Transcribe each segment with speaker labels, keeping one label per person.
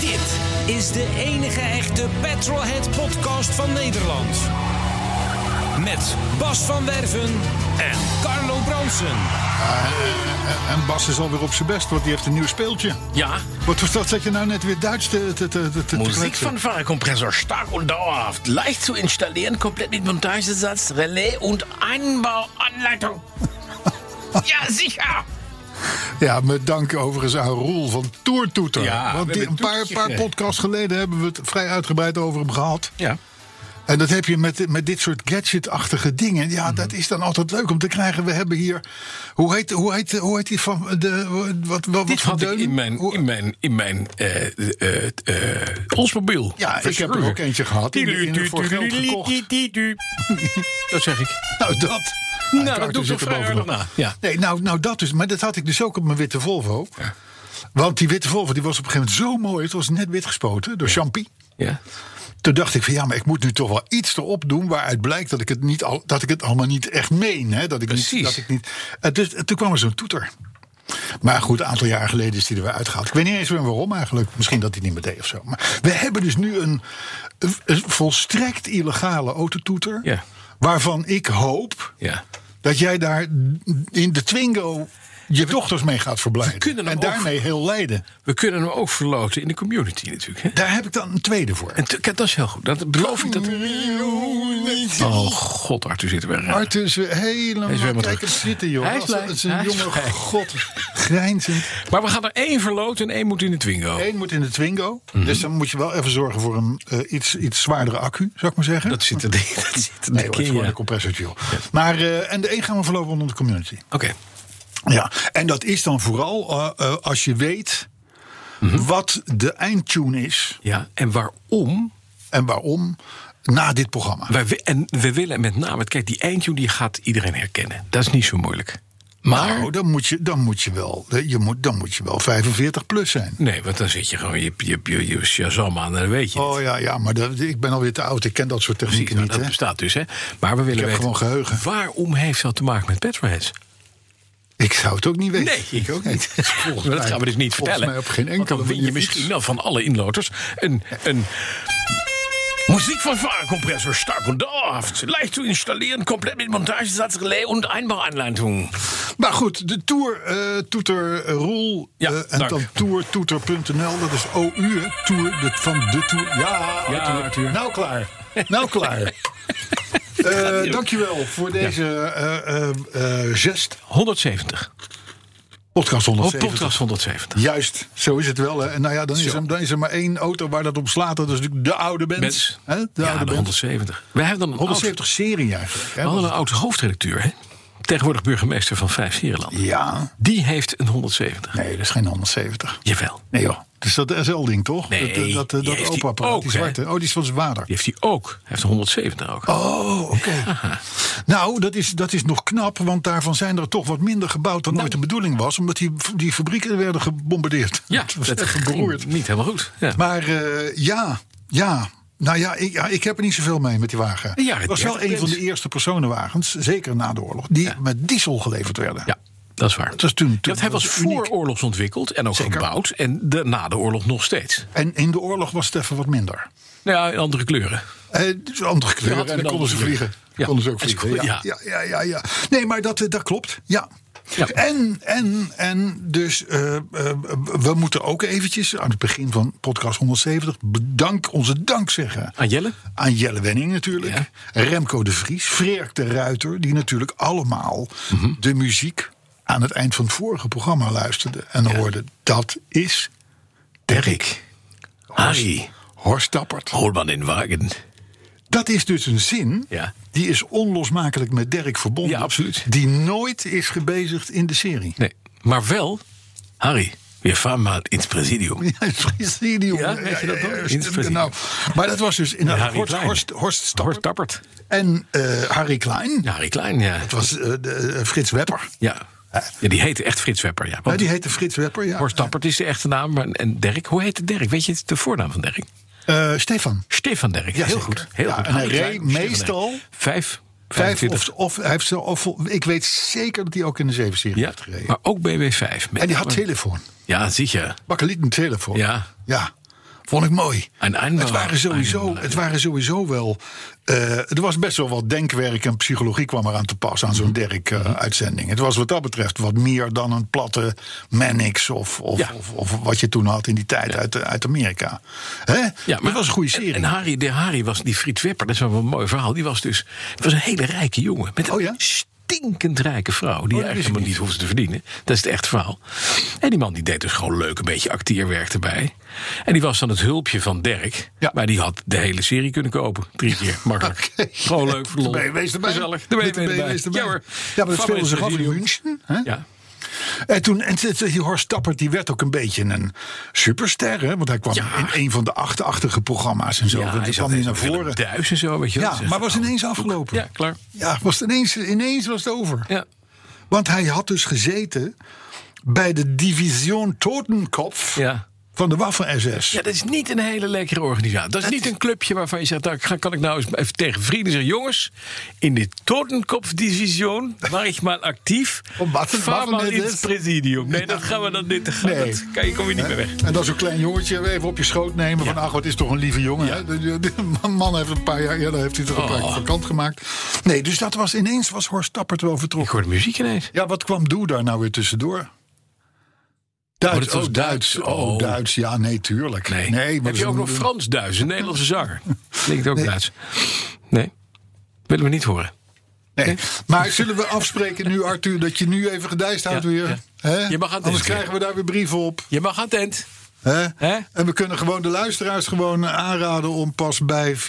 Speaker 1: Dit is de enige echte Petrolhead podcast van Nederland. Met Bas van Werven en Carlo Bronsen.
Speaker 2: En Bas is alweer op zijn best, want die heeft een nieuw speeltje.
Speaker 3: Ja,
Speaker 2: Wat was dat dat je nou net weer Duits te, te, te, te- te
Speaker 3: Musik
Speaker 2: kletsen?
Speaker 3: von Fahrerkompressor, stark und dauerhaft, leicht zu installieren, komplett mit Montagesatz, Relais und Einbauanleitung. ja, sicher!
Speaker 2: Ja, met dank overigens aan Roel van Toertoeter.
Speaker 3: Ja, we
Speaker 2: want die,
Speaker 3: hebben
Speaker 2: een paar,
Speaker 3: toetertje
Speaker 2: paar
Speaker 3: gekregen.
Speaker 2: podcasts geleden hebben we het vrij uitgebreid over hem gehad.
Speaker 3: Ja.
Speaker 2: En dat heb je met, met dit soort gadgetachtige dingen. Ja, dat is dan altijd leuk om te krijgen. We hebben hier. Hoe heet, hoe heet, hoe heet die van. De, wat, wat,
Speaker 3: Dit
Speaker 2: wat
Speaker 3: had ik in mijn,
Speaker 2: Hoe-
Speaker 3: in mijn, in mijn eh eh eh Oldsmobile.
Speaker 2: Ja, ik heb er ook eentje gehad. Die in de voor geld gekocht.
Speaker 3: Dat zeg ik.
Speaker 2: Nou, dat.
Speaker 3: dat doe ik toch vrij aardig na. Ja.
Speaker 2: Nee, nou, nou, dat dus. Maar dat had ik dus ook op mijn witte Volvo. Want die witte Volvo die was op een gegeven moment zo mooi. Het was net wit gespoten door Champy.
Speaker 3: Ja.
Speaker 2: Toen dacht ik van ja, maar ik moet nu toch wel iets erop doen waaruit blijkt dat ik het, niet al, dat ik het allemaal niet echt meen. Hè? Dat ik
Speaker 3: Precies.
Speaker 2: Niet, dat ik niet, en dus, en toen kwam er zo'n toeter. Maar goed, een aantal jaar geleden is die er weer uitgehaald. Ik weet niet eens meer waarom eigenlijk. Misschien dat hij het niet meer deed of zo. Maar we hebben dus nu een, een- een volstrekt illegale autotoeter.
Speaker 3: Ja.
Speaker 2: Waarvan ik hoop
Speaker 3: ja.
Speaker 2: dat jij daar in de Twingo je dochters mee gaat
Speaker 3: We
Speaker 2: verblijden.
Speaker 3: kunnen hem
Speaker 2: En
Speaker 3: ook-
Speaker 2: daarmee heel lijden.
Speaker 3: We kunnen hem ook verloten in de community natuurlijk. Hè?
Speaker 2: Daar heb ik dan een tweede voor.
Speaker 3: En t- kijk, dat is heel goed. Dat beloof ik. Dat... Oh god, Arthur zit er weer aan.
Speaker 2: Arthur is weer helemaal...
Speaker 3: Hij is weer helemaal
Speaker 2: Kijk hem
Speaker 3: terug.
Speaker 2: zitten, joh.
Speaker 3: Hij is
Speaker 2: Als-
Speaker 3: blij.
Speaker 2: Het is een
Speaker 3: Hij is
Speaker 2: jonge
Speaker 3: blij.
Speaker 2: god. Grijnzend.
Speaker 3: Maar we gaan er één verloten en één moet in de Twingo.
Speaker 2: Eén moet in de Twingo.
Speaker 3: Mhm.
Speaker 2: Dus dan moet je wel even zorgen voor een eh, iets, iets zwaardere accu, zou ik maar zeggen.
Speaker 3: Dat zit er dat zit er
Speaker 2: Nee,
Speaker 3: dik
Speaker 2: hoor, het
Speaker 3: in,
Speaker 2: is
Speaker 3: ja.
Speaker 2: gewoon een
Speaker 3: Oké.
Speaker 2: compressortje, joh. Maar, eh, en de één gaan we verlopen onder de community. Ja, en dat is dan vooral eh, eh, als je weet
Speaker 3: Mhm.
Speaker 2: wat de eindtune is
Speaker 3: Ja, en waarom?
Speaker 2: en waarom na dit programma.
Speaker 3: Wij, wi- en we willen met name... Kijk, die eindtune die gaat iedereen herkennen. Dat is niet zo moeilijk. Maar...
Speaker 2: Nou, dan moet je, dan moet je, wel, je moet, dan moet je wel 45 plus zijn.
Speaker 3: Nee, want dan zit je gewoon je, je, je, je Shazam aan en dan weet je het.
Speaker 2: Oh ja, ja maar dat, ik ben alweer te oud. Ik ken dat soort
Speaker 3: Precies,
Speaker 2: technieken
Speaker 3: nou,
Speaker 2: niet.
Speaker 3: dat
Speaker 2: hè.
Speaker 3: bestaat dus, hè. Maar we willen
Speaker 2: heb
Speaker 3: weten...
Speaker 2: gewoon geheugen.
Speaker 3: Waarom heeft dat te maken met Petroheads?
Speaker 2: Ik zou het ook niet weten.
Speaker 3: Nee,
Speaker 2: ik ook niet. Volgens
Speaker 3: Maar dat
Speaker 2: mij-
Speaker 3: gaan we dus niet
Speaker 2: volgens
Speaker 3: vertellen.
Speaker 2: Mij op geen
Speaker 3: Want
Speaker 2: enkele
Speaker 3: dan win je
Speaker 2: manier
Speaker 3: misschien
Speaker 2: iets.
Speaker 3: wel van alle inloters een... een Muziek van Fahrerkompressor stark und dauerhaft. Leicht zu installieren, komplett mit Montagesatz, Relais und Einbauanleitung.
Speaker 2: Maar goed, de Tour eh, Toeter eh, Roel.
Speaker 3: Ja,
Speaker 2: eh, en
Speaker 3: dank.
Speaker 2: dan tourtoeter.nl. Dat is OU, hè? Tour de, van de Tour. Ja,
Speaker 3: Ja, Arthur.
Speaker 2: nou klaar. Nou klaar. Eh dankjewel voor deze eh, eh, eh, gest.
Speaker 3: 170.
Speaker 2: Podcast
Speaker 3: Op Oh,
Speaker 2: 170.
Speaker 3: podcast 170.
Speaker 2: Juist, zo is het wel. Hè. En nou ja, dan is,
Speaker 3: Zo.
Speaker 2: er, dan is er maar één auto waar dat op slaat. Dat is natuurlijk de oude band.
Speaker 3: Met,
Speaker 2: Hè? De
Speaker 3: ja,
Speaker 2: oude
Speaker 3: de
Speaker 2: band.
Speaker 3: 170. We hebben dan een
Speaker 2: 170 serie eigenlijk.
Speaker 3: oud, we
Speaker 2: Hè?
Speaker 3: hadden een oud hoofdredacteur, hè? tegenwoordig burgemeester van Vijf Sierenlanden.
Speaker 2: Ja,
Speaker 3: Die heeft een 170.
Speaker 2: nee, dat is geen 170.
Speaker 3: Jawel.
Speaker 2: Nee joh. Dus dat SL-ding toch?
Speaker 3: Nee,
Speaker 2: dat eh, dat, eh,
Speaker 3: die
Speaker 2: dat
Speaker 3: heeft die
Speaker 2: opa-apparaat,
Speaker 3: ook,
Speaker 2: die
Speaker 3: hè?
Speaker 2: zwarte. Oh, die is van zijn vader.
Speaker 3: Die heeft hij ook. Hij heeft een 170 ook.
Speaker 2: Oh, oké. Nou, dat is, dat is nog knap, want daarvan zijn er toch wat minder gebouwd
Speaker 3: Nou.
Speaker 2: dan ooit de bedoeling was. Omdat die, die fabrieken werden gebombardeerd.
Speaker 3: ja,
Speaker 2: Het was
Speaker 3: dat
Speaker 2: echt
Speaker 3: ging
Speaker 2: gebroerd.
Speaker 3: Niet helemaal goed. Ja.
Speaker 2: Maar eh, ja, ja. Nou ja ik, ja, ik heb er niet zoveel mee met die wagen.
Speaker 3: De jaren
Speaker 2: Het was wel
Speaker 3: 30
Speaker 2: een van de
Speaker 3: Benz.
Speaker 2: eerste personenwagens, zeker na de oorlog, die met diesel geleverd werden.
Speaker 3: Ja, dat is waar.
Speaker 2: was toen- toen
Speaker 3: dat hij was,
Speaker 2: was het
Speaker 3: voor
Speaker 2: uniek.
Speaker 3: oorlogs ontwikkeld en ook gebouwd. En de, na de oorlog nog steeds.
Speaker 2: En in de oorlog was het even wat minder.
Speaker 3: Nou ja, in andere kleuren.
Speaker 2: Eh, dus andere kleuren.
Speaker 3: hadden
Speaker 2: en
Speaker 3: een
Speaker 2: dan konden ze
Speaker 3: andere
Speaker 2: vliegen.
Speaker 3: kleur. Ja.
Speaker 2: Konden ze ook
Speaker 3: En ze
Speaker 2: vliegen.
Speaker 3: kon-
Speaker 2: Ja. Ja. Ja, ja, ja. Nee, maar dat, eh, dat klopt. Ja.
Speaker 3: Ja.
Speaker 2: En, en, en dus eh, eh, we moeten ook eventjes aan het begin van podcast 170 bedank, onze dank zeggen.
Speaker 3: Aan Jelle?
Speaker 2: Aan Jelle Wenning natuurlijk.
Speaker 3: Ja.
Speaker 2: Remco de Vries. Freerk de Ruiter. Die natuurlijk allemaal
Speaker 3: Mhm.
Speaker 2: de muziek aan het eind van het vorige programma luisterden. En hoorden dat is Derrick.
Speaker 3: Harry,
Speaker 2: Horst Tappert.
Speaker 3: hol mal den Wagen.
Speaker 2: Dat is dus een zin
Speaker 3: Ja.
Speaker 2: die is onlosmakelijk met Dirk verbonden.
Speaker 3: Ja, absoluut.
Speaker 2: Die nooit is gebezigd in de serie.
Speaker 3: Nee, maar wel, Harry, we fahren mal ins Präsidium.
Speaker 2: Ja, het presidium.
Speaker 3: Ja, weet je dat nog? In het presidium.
Speaker 2: nou, maar dat was dus
Speaker 3: Ja,
Speaker 2: inderdaad
Speaker 3: Harry
Speaker 2: Horst,
Speaker 3: Klein.
Speaker 2: Horst, Horst Tappert
Speaker 3: Horst Tappert.
Speaker 2: en eh, Harry Klein.
Speaker 3: Ja, Harry Klein, ja.
Speaker 2: Dat was eh, de, eh, Frits Wepper.
Speaker 3: Ja. ja, die heette echt Frits Wepper, ja. Want
Speaker 2: Ja, die heette Frits Wepper, ja.
Speaker 3: Horst Tappert is de echte naam. maar- En Dirk, hoe heette Dirk? Weet je de voornaam van Dirk?
Speaker 2: Eh, Stefan.
Speaker 3: Stefan Dirk,
Speaker 2: Ja,
Speaker 3: heel
Speaker 2: zeker.
Speaker 3: goed. Heel
Speaker 2: Ja,
Speaker 3: goed.
Speaker 2: en hij
Speaker 3: Harry Klein,
Speaker 2: reed
Speaker 3: Stefan Derk.
Speaker 2: meestal
Speaker 3: Vijf,
Speaker 2: Vijf
Speaker 3: 25.
Speaker 2: of, of, hij heeft zo, of, ik weet zeker dat hij ook in de zeven serie heeft
Speaker 3: ja, Ah.
Speaker 2: gereden.
Speaker 3: maar ook BW5.
Speaker 2: en die had telefoon.
Speaker 3: Ja, sicher.
Speaker 2: Bakkelieten telefoon.
Speaker 3: Ja.
Speaker 2: Ja. Vond ik mooi.
Speaker 3: Een eindbaar-
Speaker 2: het, waren sowieso,
Speaker 3: eindbaar,
Speaker 2: het waren sowieso wel. eh, er was best wel wat denkwerk en psychologie kwam eraan te pas aan zo'n
Speaker 3: Mhm.
Speaker 2: Derk-uitzending. het was wat dat betreft wat meer dan een platte Mannix of, of,
Speaker 3: Ja.
Speaker 2: of, of wat je toen had in die tijd uit, eh, uit Amerika. Hè?
Speaker 3: Ja,
Speaker 2: dat was een goede serie.
Speaker 3: En, en Harry, de Harry was die Frits Wepper, dat is wel een mooi verhaal. Die was dus het was een hele rijke jongen. Met een
Speaker 2: Oh ja? Oh,
Speaker 3: stinkend rijke vrouw. Die
Speaker 2: dat wist ik
Speaker 3: eigenlijk helemaal
Speaker 2: niet.
Speaker 3: niet hoefde te verdienen. Dat is het echt verhaal. En die man die deed dus gewoon leuk een beetje acteerwerk erbij. En die was dan het hulpje van Dirk.
Speaker 2: Ja.
Speaker 3: Maar die had de hele serie kunnen kopen. Drie keer, makkelijk.
Speaker 2: Oké.
Speaker 3: Gewoon leuk voor de lol.
Speaker 2: De BMW's erbij.
Speaker 3: Gezellig. De
Speaker 2: Met de
Speaker 3: BMW's erbij.
Speaker 2: BMW's erbij.
Speaker 3: Ja hoor.
Speaker 2: Ja, maar dat
Speaker 3: Van
Speaker 2: speelde zich af in
Speaker 3: Presidium.
Speaker 2: München. Hè?
Speaker 3: Ja.
Speaker 2: En toen, en t- t- die Horst Tappert die werd ook een beetje een superster, hè? Want hij kwam
Speaker 3: Ja.
Speaker 2: in een van de achtachtige programma's en zo.
Speaker 3: Ja,
Speaker 2: Want
Speaker 3: hij
Speaker 2: die
Speaker 3: zat
Speaker 2: kwam hij
Speaker 3: in
Speaker 2: naar
Speaker 3: Willem
Speaker 2: voren.
Speaker 3: Duis en zo, weet je wel.
Speaker 2: Ja,
Speaker 3: Zeg,
Speaker 2: maar was
Speaker 3: oh,
Speaker 2: ineens afgelopen.
Speaker 3: Ja, klaar.
Speaker 2: Ja, was het ineens, ineens was het over.
Speaker 3: Ja.
Speaker 2: Want hij had dus gezeten bij de Division Totenkopf
Speaker 3: Ja.
Speaker 2: van de Waffen-SS.
Speaker 3: Ja, dat is niet een hele lekkere organisatie. Dat is niet een clubje waarvan je zegt, daar ga- kan ik nou eens even tegen vrienden zeggen, jongens, in de Totenkopfdivision waar ik maar actief.
Speaker 2: Om wat te-
Speaker 3: Vaar
Speaker 2: wat
Speaker 3: maar
Speaker 2: dit
Speaker 3: in het
Speaker 2: is.
Speaker 3: presidium. Nee, dat gaan we dan niet. Dat,
Speaker 2: Nee.
Speaker 3: dat kan, je- kom je niet meer weg.
Speaker 2: En dan zo'n klein jongetje even op je schoot nemen. Van, ach, wat is toch een lieve jongen. hè? De, de- de man heeft een paar jaar eerder heeft hij toch
Speaker 3: Oh.
Speaker 2: een paar keer van kant gemaakt. Nee, dus dat was ineens was Horst Tappert wel
Speaker 3: Ik
Speaker 2: vertrokken.
Speaker 3: hoor de muziek ineens.
Speaker 2: Ja, wat kwam Doe daar nou weer tussendoor?
Speaker 3: Oh,
Speaker 2: Duits,
Speaker 3: dat was
Speaker 2: oh, Duits.
Speaker 3: Duits.
Speaker 2: Oh,
Speaker 3: Oh.
Speaker 2: Duits, ja, nee, tuurlijk.
Speaker 3: Nee.
Speaker 2: nee maar
Speaker 3: Heb je
Speaker 2: dat
Speaker 3: ook
Speaker 2: is
Speaker 3: nog
Speaker 2: een-
Speaker 3: Frans-Duits, een Nederlandse zanger? Klinkt ook Duits. Nee, willen we niet horen.
Speaker 2: Nee. Maar zullen we afspreken nu, Arthur, dat je nu even gedijst houdt
Speaker 3: Ja,
Speaker 2: weer?
Speaker 3: ja.
Speaker 2: Hè?
Speaker 3: Je mag aan het
Speaker 2: Anders
Speaker 3: eens
Speaker 2: krijgen we daar weer brieven op.
Speaker 3: Je mag aan tent.
Speaker 2: Hè?
Speaker 3: Hè?
Speaker 2: En we kunnen gewoon de luisteraars gewoon aanraden om pas bij 4.30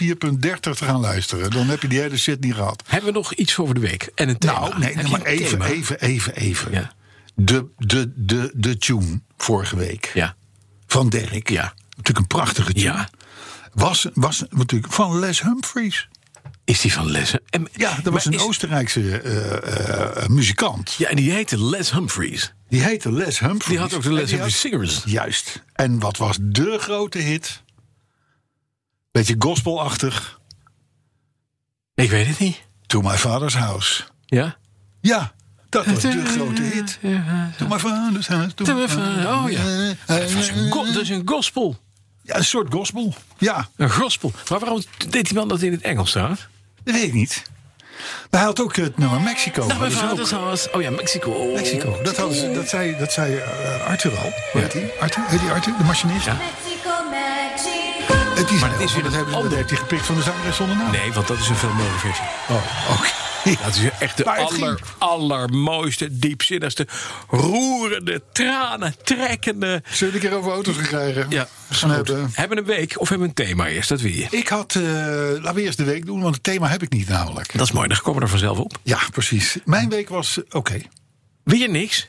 Speaker 2: te gaan luisteren. Dan heb je die hele shit niet gehad.
Speaker 3: Hebben we nog iets over de week? En een thema?
Speaker 2: Nou, nee,
Speaker 3: Heb je
Speaker 2: maar
Speaker 3: een
Speaker 2: even,
Speaker 3: thema?
Speaker 2: even, even, even.
Speaker 3: Ja.
Speaker 2: De, de, de, de tune vorige week
Speaker 3: Ja.
Speaker 2: van Dirk.
Speaker 3: Ja.
Speaker 2: Natuurlijk een prachtige tune.
Speaker 3: Ja.
Speaker 2: Was, was natuurlijk van Les Humphries.
Speaker 3: Is die van lessen? En-
Speaker 2: Ja, dat
Speaker 3: maar
Speaker 2: was een
Speaker 3: is-
Speaker 2: Oostenrijkse eh, eh, muzikant.
Speaker 3: Ja, en die heette Les Humphries.
Speaker 2: Die heette Les Humphries.
Speaker 3: Die had ook de
Speaker 2: En
Speaker 3: Les
Speaker 2: die
Speaker 3: Humphries
Speaker 2: had-
Speaker 3: Singers.
Speaker 2: Juist. En wat was de grote hit? Beetje gospelachtig.
Speaker 3: Ik weet het niet.
Speaker 2: To My Father's House.
Speaker 3: Ja?
Speaker 2: Ja, dat was de grote hit. To My Father's House. to my father's-
Speaker 3: Oh
Speaker 2: eh,
Speaker 3: ja. Dat is een, go- dat is een gospel.
Speaker 2: Ja, een soort gospel. Ja,
Speaker 3: Een gospel. Maar waarom deed die man dat in het Engels trouwens?
Speaker 2: dat weet ik niet. Maar hij had ook het nummer Mexico.
Speaker 3: Nou,
Speaker 2: hadden ze ook.
Speaker 3: was... Oh ja, Mexico.
Speaker 2: Mexico. Dat, hadden ze, dat zei, dat zei eh, Arthur al. Hoe heet hij? Arthur? Heet hij Arthur? De machinist?
Speaker 3: Ja.
Speaker 2: Het is
Speaker 3: dat is weer
Speaker 2: dat,
Speaker 3: een
Speaker 2: hebben ze- dat
Speaker 3: ander.
Speaker 2: heeft hij gepikt van de zangeres zonder naam.
Speaker 3: Nee, want dat is een veel mooier versie.
Speaker 2: Oh, oké.
Speaker 3: Dat is echt de
Speaker 2: Maar het
Speaker 3: aller,
Speaker 2: ging-
Speaker 3: allermooiste, diepzinnigste, roerende, tranen, trekkende...
Speaker 2: Zullen we een keer over auto's gekregen?
Speaker 3: Ja,
Speaker 2: gaan hebben.
Speaker 3: Hebben we een week of hebben we een thema eerst? Dat wil je.
Speaker 2: Ik had, eh, laten we eerst de week doen, want het thema heb ik niet namelijk.
Speaker 3: Dat is mooi, dan komen we er vanzelf op.
Speaker 2: Ja, precies. Mijn week was, eh, oké.
Speaker 3: Wil je niks?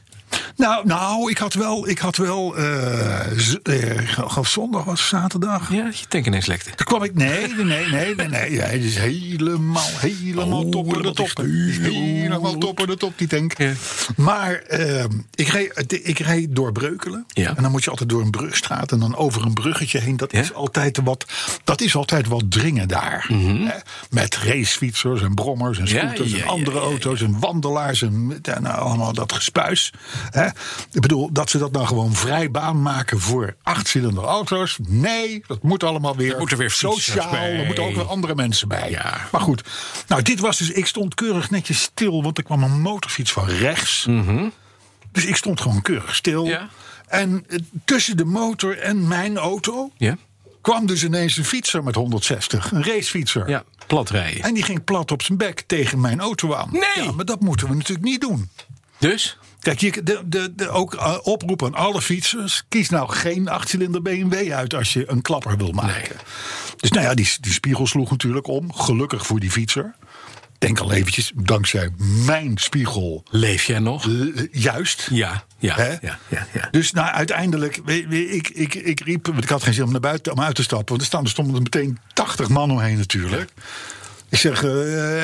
Speaker 2: Nou, nou, ik had wel, ik had wel, eh, z- eh, ik geloof zondag was zaterdag.
Speaker 3: Ja, je tanken ineens lekte.
Speaker 2: Toen kwam ik, nee, nee, nee, nee, nee, nee. Ja, het is helemaal, helemaal
Speaker 3: Oh,
Speaker 2: topper de
Speaker 3: dat
Speaker 2: top.
Speaker 3: is heel
Speaker 2: Helemaal
Speaker 3: goed.
Speaker 2: topper de top, die tank.
Speaker 3: Ja.
Speaker 2: Maar ehm, ik, reed, ik reed door Breukelen.
Speaker 3: Ja.
Speaker 2: En dan moet je altijd door een brugstraat en dan over een bruggetje heen. Dat,
Speaker 3: Ja.
Speaker 2: is, altijd wat, dat is altijd wat dringen daar. hè? Met racefietsers en brommers en
Speaker 3: Mhm. Ja,
Speaker 2: scooters
Speaker 3: ja,
Speaker 2: en
Speaker 3: ja,
Speaker 2: andere
Speaker 3: ja, ja.
Speaker 2: auto's en wandelaars en, en eh, allemaal dat gespuis. Hè? Ik bedoel, dat ze dat nou gewoon vrij baan maken voor achtcilinder auto's. Nee, dat moet allemaal weer.
Speaker 3: Er moeten weer fietsers
Speaker 2: sociaal,
Speaker 3: bij.
Speaker 2: er moeten ook weer andere mensen bij.
Speaker 3: Ja.
Speaker 2: Maar goed, nou dit was dus, ik stond keurig netjes stil, want er kwam een motorfiets van rechts. Dus ik stond gewoon keurig stil.
Speaker 3: Mhm. Ja.
Speaker 2: En eh, tussen de motor en mijn auto
Speaker 3: Ja?
Speaker 2: kwam dus ineens een fietser met 160, een racefietser.
Speaker 3: Ja, plat rijden.
Speaker 2: En die ging plat op zijn bek tegen mijn auto aan.
Speaker 3: Nee!
Speaker 2: Ja, maar dat moeten we natuurlijk niet doen.
Speaker 3: Dus?
Speaker 2: Kijk, je, de, de, de, ook eh, oproep aan alle fietsers. Kies nou geen achtcilinder BMW uit als je een klapper wil maken. Dus nou ja, die, die spiegel sloeg natuurlijk om. Gelukkig voor die fietser. Denk al eventjes, dankzij mijn spiegel.
Speaker 3: Leef jij nog?
Speaker 2: eh, juist.
Speaker 3: Ja, ja,
Speaker 2: Hè?
Speaker 3: ja, ja, ja.
Speaker 2: Dus nou, uiteindelijk, we- we- ik, ik, ik riep, want ik had geen zin om naar buiten om uit te stappen. Want er staan- er stonden er meteen 80 man omheen natuurlijk. Ik zeg, eh,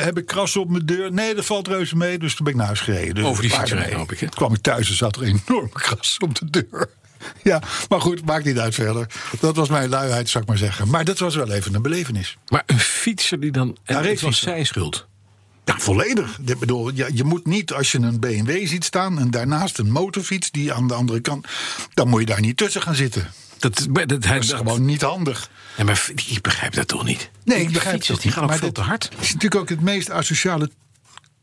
Speaker 2: heb ik kras op mijn deur? Nee, dat valt reuze mee. Dus toen ben ik naar huis gereden. Dus
Speaker 3: Over die
Speaker 2: een paar
Speaker 3: fiets heen,
Speaker 2: dagen
Speaker 3: hoop ik, hè?
Speaker 2: Toen kwam ik thuis en zat er enorm kras op de deur. Ja, maar goed, maakt niet uit verder. Dat was mijn luiheid, zou ik maar zeggen. Maar dat was wel even een belevenis.
Speaker 3: Maar een fietser die dan... En het
Speaker 2: Ja,
Speaker 3: was
Speaker 2: racefietser.
Speaker 3: zijn schuld.
Speaker 2: Ja, volledig. Ik bedoel, je, je moet niet als je een BMW ziet staan... en daarnaast een motorfiets die aan de andere kant... dan moet je daar niet tussen gaan zitten.
Speaker 3: Dat, maar dat, hij
Speaker 2: Dat is
Speaker 3: dacht-
Speaker 2: gewoon niet handig.
Speaker 3: Nee, maar ik begrijp dat toch niet?
Speaker 2: Nee,
Speaker 3: Die
Speaker 2: ik begrijp
Speaker 3: fietsers,
Speaker 2: het
Speaker 3: die
Speaker 2: niet,
Speaker 3: gaan ook
Speaker 2: maar
Speaker 3: veel
Speaker 2: dit-
Speaker 3: te hard.
Speaker 2: Het is natuurlijk ook het meest asociale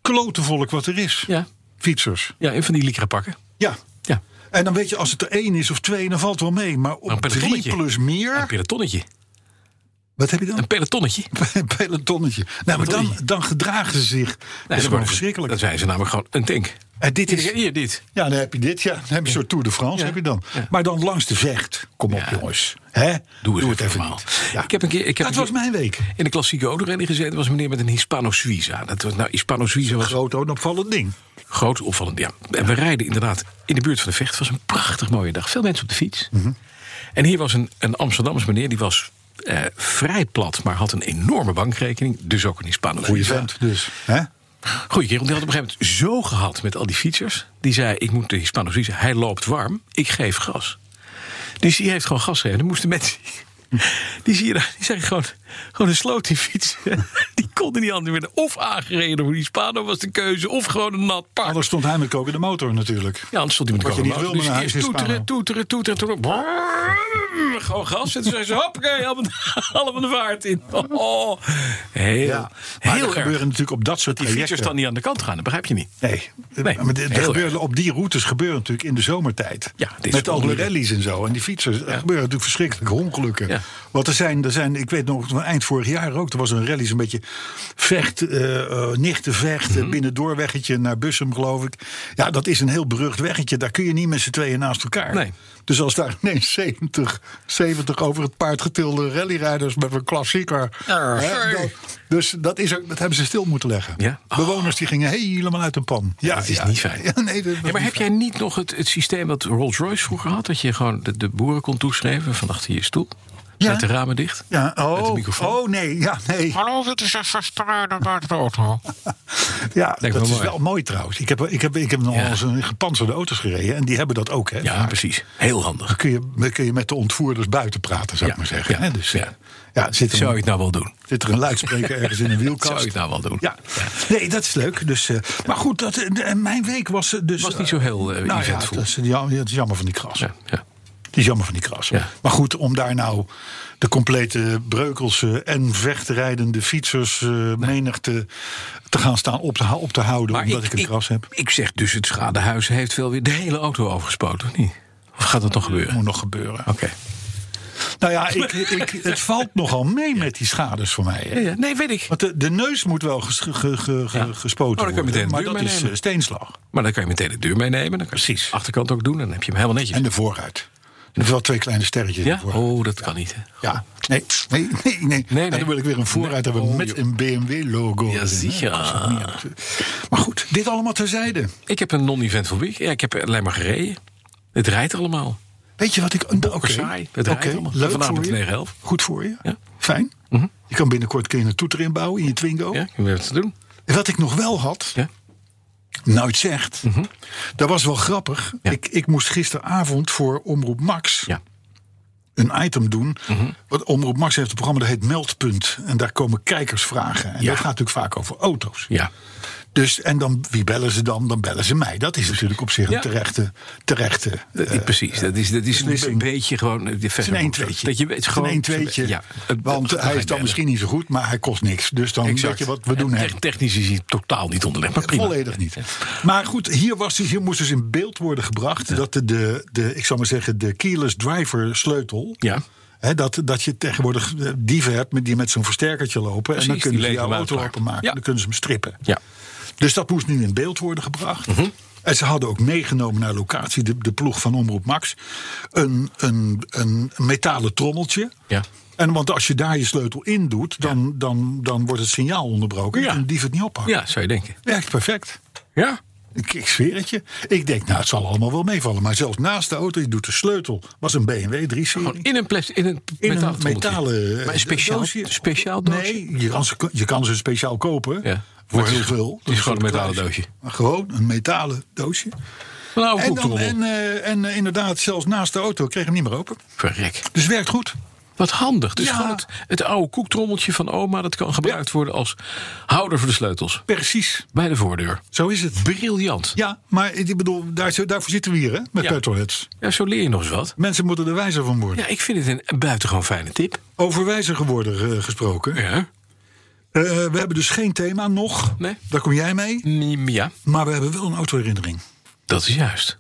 Speaker 2: klotenvolk wat er is.
Speaker 3: Ja.
Speaker 2: Fietsers.
Speaker 3: Ja, en van die lycra pakken.
Speaker 2: Ja.
Speaker 3: Ja.
Speaker 2: En dan weet je, als het er één is of twee, dan valt het wel mee. Maar op
Speaker 3: Maar een pelotonnetje.
Speaker 2: drie plus
Speaker 3: Een
Speaker 2: meer...
Speaker 3: pelotonnetje.
Speaker 2: Wat heb je
Speaker 3: Een
Speaker 2: dan?
Speaker 3: pelotonnetje.
Speaker 2: Een pelotonnetje. Nou, maar dan,
Speaker 3: Pelotonnetje.
Speaker 2: dan gedragen ze zich. dat is gewoon
Speaker 3: worden ze-
Speaker 2: verschrikkelijk.
Speaker 3: Dan zijn ze namelijk gewoon een tank.
Speaker 2: En dit is...
Speaker 3: Hier, hier, dit.
Speaker 2: Ja, dan heb je dit, ja. Dan heb je een soort Tour de France,
Speaker 3: Ja.
Speaker 2: heb je dan.
Speaker 3: Ja.
Speaker 2: Maar dan langs de vecht. Kom op,
Speaker 3: Ja.
Speaker 2: jongens. Hè?
Speaker 3: Doe, eens
Speaker 2: het even
Speaker 3: normaal.
Speaker 2: niet. Ja.
Speaker 3: Ik heb een keer, ik heb
Speaker 2: dat
Speaker 3: een
Speaker 2: was
Speaker 3: keer
Speaker 2: mijn week.
Speaker 3: in de klassieke autorenning gezeten. was een meneer met een Hispano-Suiza. Dat was, nou, Hispano-Suiza was
Speaker 2: Groot onopvallend ding.
Speaker 3: Groot opvallend, ja. En we rijden inderdaad in de buurt van de Vecht. Het was een prachtig mooie dag. Veel mensen op de fiets.
Speaker 2: Mhm.
Speaker 3: En hier was een, een Amsterdamse meneer, die was eh, vrij plat... maar had een enorme bankrekening, dus ook een Hispano.
Speaker 2: Goeie vent, dus. Hè?
Speaker 3: Goeie kerel, die had op een gegeven moment zo gehad met al die fietsers. Die zei, ik moet de Hispano Suiza, hij loopt warm, ik geef gas. Dus die heeft gewoon gas gegeven. Dan moesten mensen... Die zie je daar, die zijn gewoon, gewoon een sloot in fietsen. Die konden niet anders werden. Of aangereden door die Hispano was de keuze. Of gewoon een nat paard.
Speaker 2: Anders stond hij met kokende motor natuurlijk.
Speaker 3: Ja, anders stond hij met de
Speaker 2: Wat je niet
Speaker 3: kolenmotor.
Speaker 2: wil met een
Speaker 3: Dus eerst
Speaker 2: huis in
Speaker 3: toeteren, toeteren,
Speaker 2: Spanje.
Speaker 3: toeteren, toeteren. Brrrr, gewoon gas. En toen zei ze, hoppakee, allemaal, allemaal de vaart in. Oh, heel,
Speaker 2: Ja, maar er
Speaker 3: heel erg.
Speaker 2: gebeuren natuurlijk op dat soort
Speaker 3: Die
Speaker 2: trajecten.
Speaker 3: fietsers dan niet aan de kant gaan, dat begrijp je niet.
Speaker 2: Nee,
Speaker 3: Nee,
Speaker 2: maar dit- er
Speaker 3: heel
Speaker 2: gebeuren, op die routes gebeuren natuurlijk in de zomertijd.
Speaker 3: Ja, dit is
Speaker 2: Met al de
Speaker 3: onduur.
Speaker 2: rallies en zo. En die fietsers, er gebeuren natuurlijk verschrikkelijke ongelukken.
Speaker 3: Ja.
Speaker 2: Want er zijn, er zijn, ik weet nog, van eind vorig jaar ook, er was een rally, een beetje vecht, eh eh, nichtenvecht,
Speaker 3: Mhm.
Speaker 2: eh, binnendoorweggetje naar Bussum, geloof ik. Ja, dat is een heel berucht weggetje. Daar kun je niet met z'n tweeën naast elkaar.
Speaker 3: Nee.
Speaker 2: Dus als daar ineens 70, 70 over het paard getilde rallyrijders met een klassieker.
Speaker 3: Ja.
Speaker 2: hè, dan- dus dat, is ook, dat hebben ze stil moeten leggen.
Speaker 3: Ja.
Speaker 2: Bewoners die gingen helemaal uit hun pan. Ja,
Speaker 3: dat is niet fijn.
Speaker 2: Ja, nee, dat-
Speaker 3: Ja, maar heb jij niet nog het, het systeem dat Rolls-Royce vroeger had? Dat je gewoon de, de boeren kon toeschrijven van achter je stoel?
Speaker 2: Ja.
Speaker 3: Met de ramen dicht?
Speaker 2: Ja,
Speaker 3: Met de
Speaker 2: oh,
Speaker 3: microfoon?
Speaker 2: oh nee, ja, nee.
Speaker 4: Hallo, dit is een verspreide buiten de auto.
Speaker 2: Ja,
Speaker 3: me
Speaker 2: dat is
Speaker 3: mooi.
Speaker 2: wel mooi trouwens. Ik heb, ik heb, ik heb nog
Speaker 3: Ja.
Speaker 2: eens een gepantserde auto's gereden. En die hebben dat ook, hè?
Speaker 3: Ja, precies. Heel handig.
Speaker 2: Dan kun je, dan kun je met de ontvoerders buiten praten, zou
Speaker 3: Ja,
Speaker 2: ik maar zeggen.
Speaker 3: ja,
Speaker 2: hè? Dus,
Speaker 3: ja.
Speaker 2: ja. zit,
Speaker 3: Zou je
Speaker 2: er,
Speaker 3: het nou wel doen?
Speaker 2: zit er een luidspreker ergens in een wielkast.
Speaker 3: Zou je het nou wel doen?
Speaker 2: Ja, nee, dat is leuk. Dus, eh, maar goed, dat, eh, en mijn week was eh, dus...
Speaker 3: Was niet zo heel, eh,
Speaker 2: nou ja,
Speaker 3: eventvol.
Speaker 2: dat is, ja, dat is jammer van die kras.
Speaker 3: Ja, ja.
Speaker 2: Die is jammer van die kras.
Speaker 3: Ja.
Speaker 2: Maar goed, om daar nou de complete breukelse en vechtrijdende fietsers eh, menigte te gaan staan op te, hou- op te houden. omdat ik, een kras heb.
Speaker 3: Ik zeg dus, het schadehuis heeft wel weer de hele auto overgespoten, of niet? Of gaat dat nog gebeuren?
Speaker 2: Moet
Speaker 3: Oké.
Speaker 2: nog gebeuren. Nou ja, ik, ik, het valt nogal mee met die schades voor mij.
Speaker 3: Ja,
Speaker 2: Hè?
Speaker 3: ja, nee, weet ik.
Speaker 2: Want de, de neus moet wel ges- ge- ge- ge-
Speaker 3: Ja.
Speaker 2: gespoten
Speaker 3: Oh, dan kun je
Speaker 2: worden,
Speaker 3: meteen de
Speaker 2: maar
Speaker 3: duur
Speaker 2: dat
Speaker 3: meenemen.
Speaker 2: is eh, steenslag.
Speaker 3: Maar dan kan je meteen de deur meenemen. Dan kan je
Speaker 2: Precies.
Speaker 3: de achterkant ook doen. Dan heb je hem helemaal netjes.
Speaker 2: En de vooruit. Er zijn wel twee kleine sterretjes in
Speaker 3: ja?
Speaker 2: de vooruit.
Speaker 3: Oh, dat kan niet. Hè.
Speaker 2: Ja, nee, nee, nee. nee.
Speaker 3: nee.
Speaker 2: En dan wil ik weer een vooruit
Speaker 3: Nee.
Speaker 2: hebben
Speaker 3: Oh,
Speaker 2: met
Speaker 3: joh.
Speaker 2: een BMW-logo.
Speaker 3: Ja, sicher.
Speaker 2: Maar goed, dit allemaal terzijde.
Speaker 3: Ik heb een non-eventful week. Ja, ik heb alleen maar gereden. Het rijdt allemaal.
Speaker 2: Weet je wat ik... Oké,
Speaker 3: saai. Het
Speaker 2: oké,
Speaker 3: rijdt allemaal.
Speaker 2: leuk
Speaker 3: Vanavond
Speaker 2: voor
Speaker 3: om
Speaker 2: je.
Speaker 3: 9:11.
Speaker 2: Goed voor je.
Speaker 3: Ja. Mhm.
Speaker 2: Fijn. Je kan binnenkort kun je een toeter inbouwen in je Twingo.
Speaker 3: Ja, ik heb wat te doen.
Speaker 2: Wat ik nog wel had,
Speaker 3: Ja? Mhm.
Speaker 2: nooit zegt... dat was wel grappig.
Speaker 3: Ja.
Speaker 2: Ik, ik moest gisteravond voor Omroep Max...
Speaker 3: Ja. Mhm.
Speaker 2: een item doen. Wat Omroep Max heeft een programma dat heet Meldpunt. En daar komen kijkersvragen. En
Speaker 3: Ja.
Speaker 2: dat gaat natuurlijk vaak over auto's.
Speaker 3: Ja.
Speaker 2: Dus, en dan, wie bellen ze dan? Dan bellen ze mij. Dat is natuurlijk op zich een
Speaker 3: Ja.
Speaker 2: terechte... terechte
Speaker 3: Dat,
Speaker 2: eh,
Speaker 3: precies. Dat is, dat is een,
Speaker 2: beslissing.
Speaker 3: beetje gewoon... eh, De
Speaker 2: Het is een 1 tweetje.
Speaker 3: Dat je, het is gewoon
Speaker 2: een 1 tweetje.
Speaker 3: Ja,
Speaker 2: want hij is dan misschien niet zo goed, maar hij kost niks. Dus dan weet je wat we doen. hè.
Speaker 3: Technisch Technisch is hij totaal niet onderlegd. Maar prima.
Speaker 2: Volledig niet. Maar goed, hier, was, dus- hier moest dus in beeld worden gebracht dat de, de, de, ik zou maar zeggen, de keyless driver sleutel.
Speaker 3: Ja.
Speaker 2: hè, dat, dat je tegenwoordig eh, dieven hebt met- die met zo'n versterkertje lopen.
Speaker 3: Precies,
Speaker 2: en dan
Speaker 3: die
Speaker 2: kunnen ze
Speaker 3: legen
Speaker 2: jouw
Speaker 3: hem
Speaker 2: auto
Speaker 3: uitklaar.
Speaker 2: openmaken.
Speaker 3: Ja. Mhm.
Speaker 2: En dan kunnen ze hem strippen.
Speaker 3: Ja.
Speaker 2: Dus dat moest nu in beeld worden gebracht. En ze hadden ook meegenomen naar locatie, de, de ploeg van Omroep Max, een, een, een metalen trommeltje.
Speaker 5: Ja.
Speaker 2: En want als je daar je sleutel in doet, dan, dan, dan wordt het signaal onderbroken.
Speaker 5: Ja.
Speaker 2: En die het niet oppakken.
Speaker 5: Ja, zou je denken.
Speaker 2: Werkt perfect.
Speaker 5: Ja?
Speaker 2: Ik, ik zweer het je. Ik denk, nou, het zal allemaal wel meevallen. Maar zelfs naast de auto, je doet de sleutel. Was een BMW 3
Speaker 5: Gewoon
Speaker 2: serie.
Speaker 5: in een, plas- in een
Speaker 2: In
Speaker 5: metalen
Speaker 2: een
Speaker 5: trommeltje.
Speaker 2: metalen. eh,
Speaker 5: Maar een speciaal,
Speaker 2: doosje.
Speaker 5: speciaal doosje?
Speaker 2: Nee, je kan, ze, je kan ze speciaal kopen.
Speaker 5: Ja.
Speaker 2: Voor
Speaker 5: Maar het
Speaker 2: heel
Speaker 5: is-
Speaker 2: veel.
Speaker 5: het
Speaker 2: Dat
Speaker 5: is gewoon een
Speaker 2: soort
Speaker 5: metalen
Speaker 2: kluisje.
Speaker 5: doosje.
Speaker 2: Maar Gewoon een metalen doosje.
Speaker 5: Nou,
Speaker 2: En,
Speaker 5: ook
Speaker 2: dan, en,
Speaker 5: trommel.
Speaker 2: eh, en eh, inderdaad, zelfs naast de auto kreeg hem niet meer open.
Speaker 5: Verrek.
Speaker 2: Dus werkt goed.
Speaker 5: Wat handig. Dus
Speaker 2: Ja.
Speaker 5: gewoon het, het oude koektrommeltje van oma... dat kan gebruikt worden als houder voor de sleutels.
Speaker 2: Precies.
Speaker 5: Bij de voordeur.
Speaker 2: Zo is het.
Speaker 5: Briljant.
Speaker 2: Ja, maar ik bedoel, daar, daarvoor zitten we hier, hè? Met
Speaker 5: Ja.
Speaker 2: petrolheads.
Speaker 5: Ja, zo leer je nog eens wat.
Speaker 2: Mensen moeten er wijzer van worden.
Speaker 5: Ja, ik vind het een buitengewoon fijne tip.
Speaker 2: Over wijzer geworden eh, gesproken.
Speaker 5: Ja.
Speaker 2: Eh, we hebben dus geen thema nog.
Speaker 5: Nee.
Speaker 2: Daar kom jij mee.
Speaker 5: Mm, Ja,
Speaker 2: Maar we hebben wel een autoherinnering.
Speaker 5: dat is juist.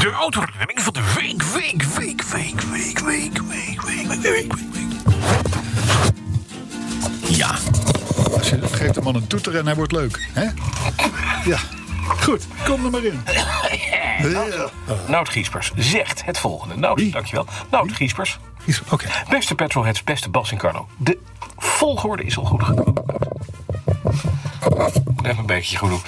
Speaker 3: De autoherinnering van de week, week, week, week, week, week, week, week, week, week, week. Ja,
Speaker 2: Als je geeft de man een toeter en hij wordt leuk. Hè? Ja. Goed, kom er maar in. Ja.
Speaker 3: Nout Giespers zegt het volgende. Nout,
Speaker 2: Wie?
Speaker 3: dankjewel. Nout Giespers.
Speaker 2: Oké.
Speaker 3: Beste Petrolheads, beste Bas en Carlo. De volgorde is al goed gekomen. Moet Even een beetje goed doen.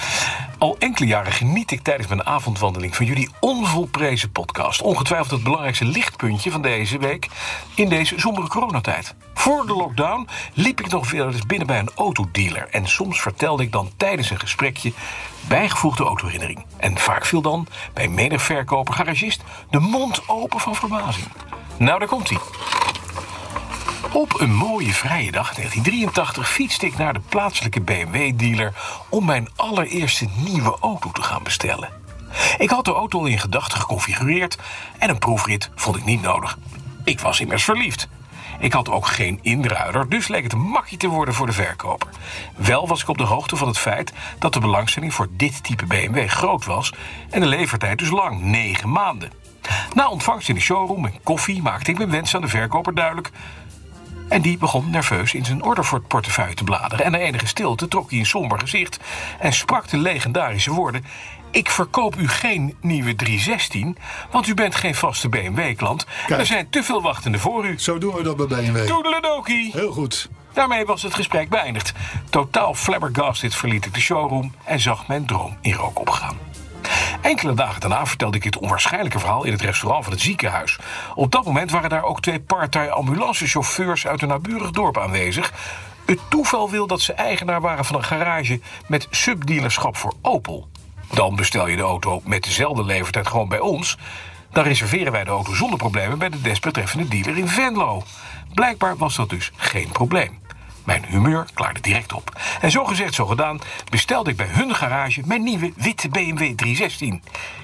Speaker 3: Al enkele jaren geniet ik tijdens mijn avondwandeling van jullie onvolprezen podcast. Ongetwijfeld het belangrijkste lichtpuntje van deze week in deze sombere coronatijd. Voor de lockdown liep ik nog veel eens binnen bij een autodealer. En soms vertelde ik dan tijdens een gesprekje bijgevoegde autoherinnering. En vaak viel dan bij menig verkoper, garagist, de mond open van verbazing. Nou, daar komt hij. Op een mooie vrije dag 1983 fietste ik naar de plaatselijke BMW-dealer om mijn allereerste nieuwe auto te gaan bestellen. Ik had de auto al in gedachten geconfigureerd en een proefrit vond ik niet nodig. Ik was immers verliefd. Ik had ook geen inruiler, dus leek het een makkie te worden voor de verkoper. Wel was ik op de hoogte van het feit dat de belangstelling voor dit type BMW groot was en de levertijd dus lang, 9 maanden. Na ontvangst in de showroom en koffie maakte ik mijn wens aan de verkoper duidelijk. En die begon nerveus in zijn orderportefeuille te bladeren. En na enige stilte trok hij een somber gezicht en sprak de legendarische woorden: Ik verkoop u geen nieuwe 316, want u bent geen vaste BMW-klant. Er zijn te veel wachtende voor u.
Speaker 2: Zo doen we dat bij BMW.
Speaker 3: Toedeledokie!
Speaker 2: Heel goed.
Speaker 3: Daarmee was het gesprek beëindigd. Totaal flabbergasted verliet ik de showroom en zag mijn droom in rook opgaan. Enkele dagen daarna vertelde ik dit onwaarschijnlijke verhaal in het restaurant van het ziekenhuis. Op dat moment waren daar ook twee partij ambulancechauffeurs uit een naburig dorp aanwezig. Het toeval wil dat ze eigenaar waren van een garage met subdealerschap voor Opel. Dan bestel je de auto met dezelfde levertijd gewoon bij ons. Dan reserveren wij de auto zonder problemen bij de desbetreffende dealer in Venlo. Blijkbaar was dat dus geen probleem. Mijn humeur klaarde direct op. En zo gezegd, zo gedaan, bestelde ik bij hun garage mijn nieuwe witte BMW 316.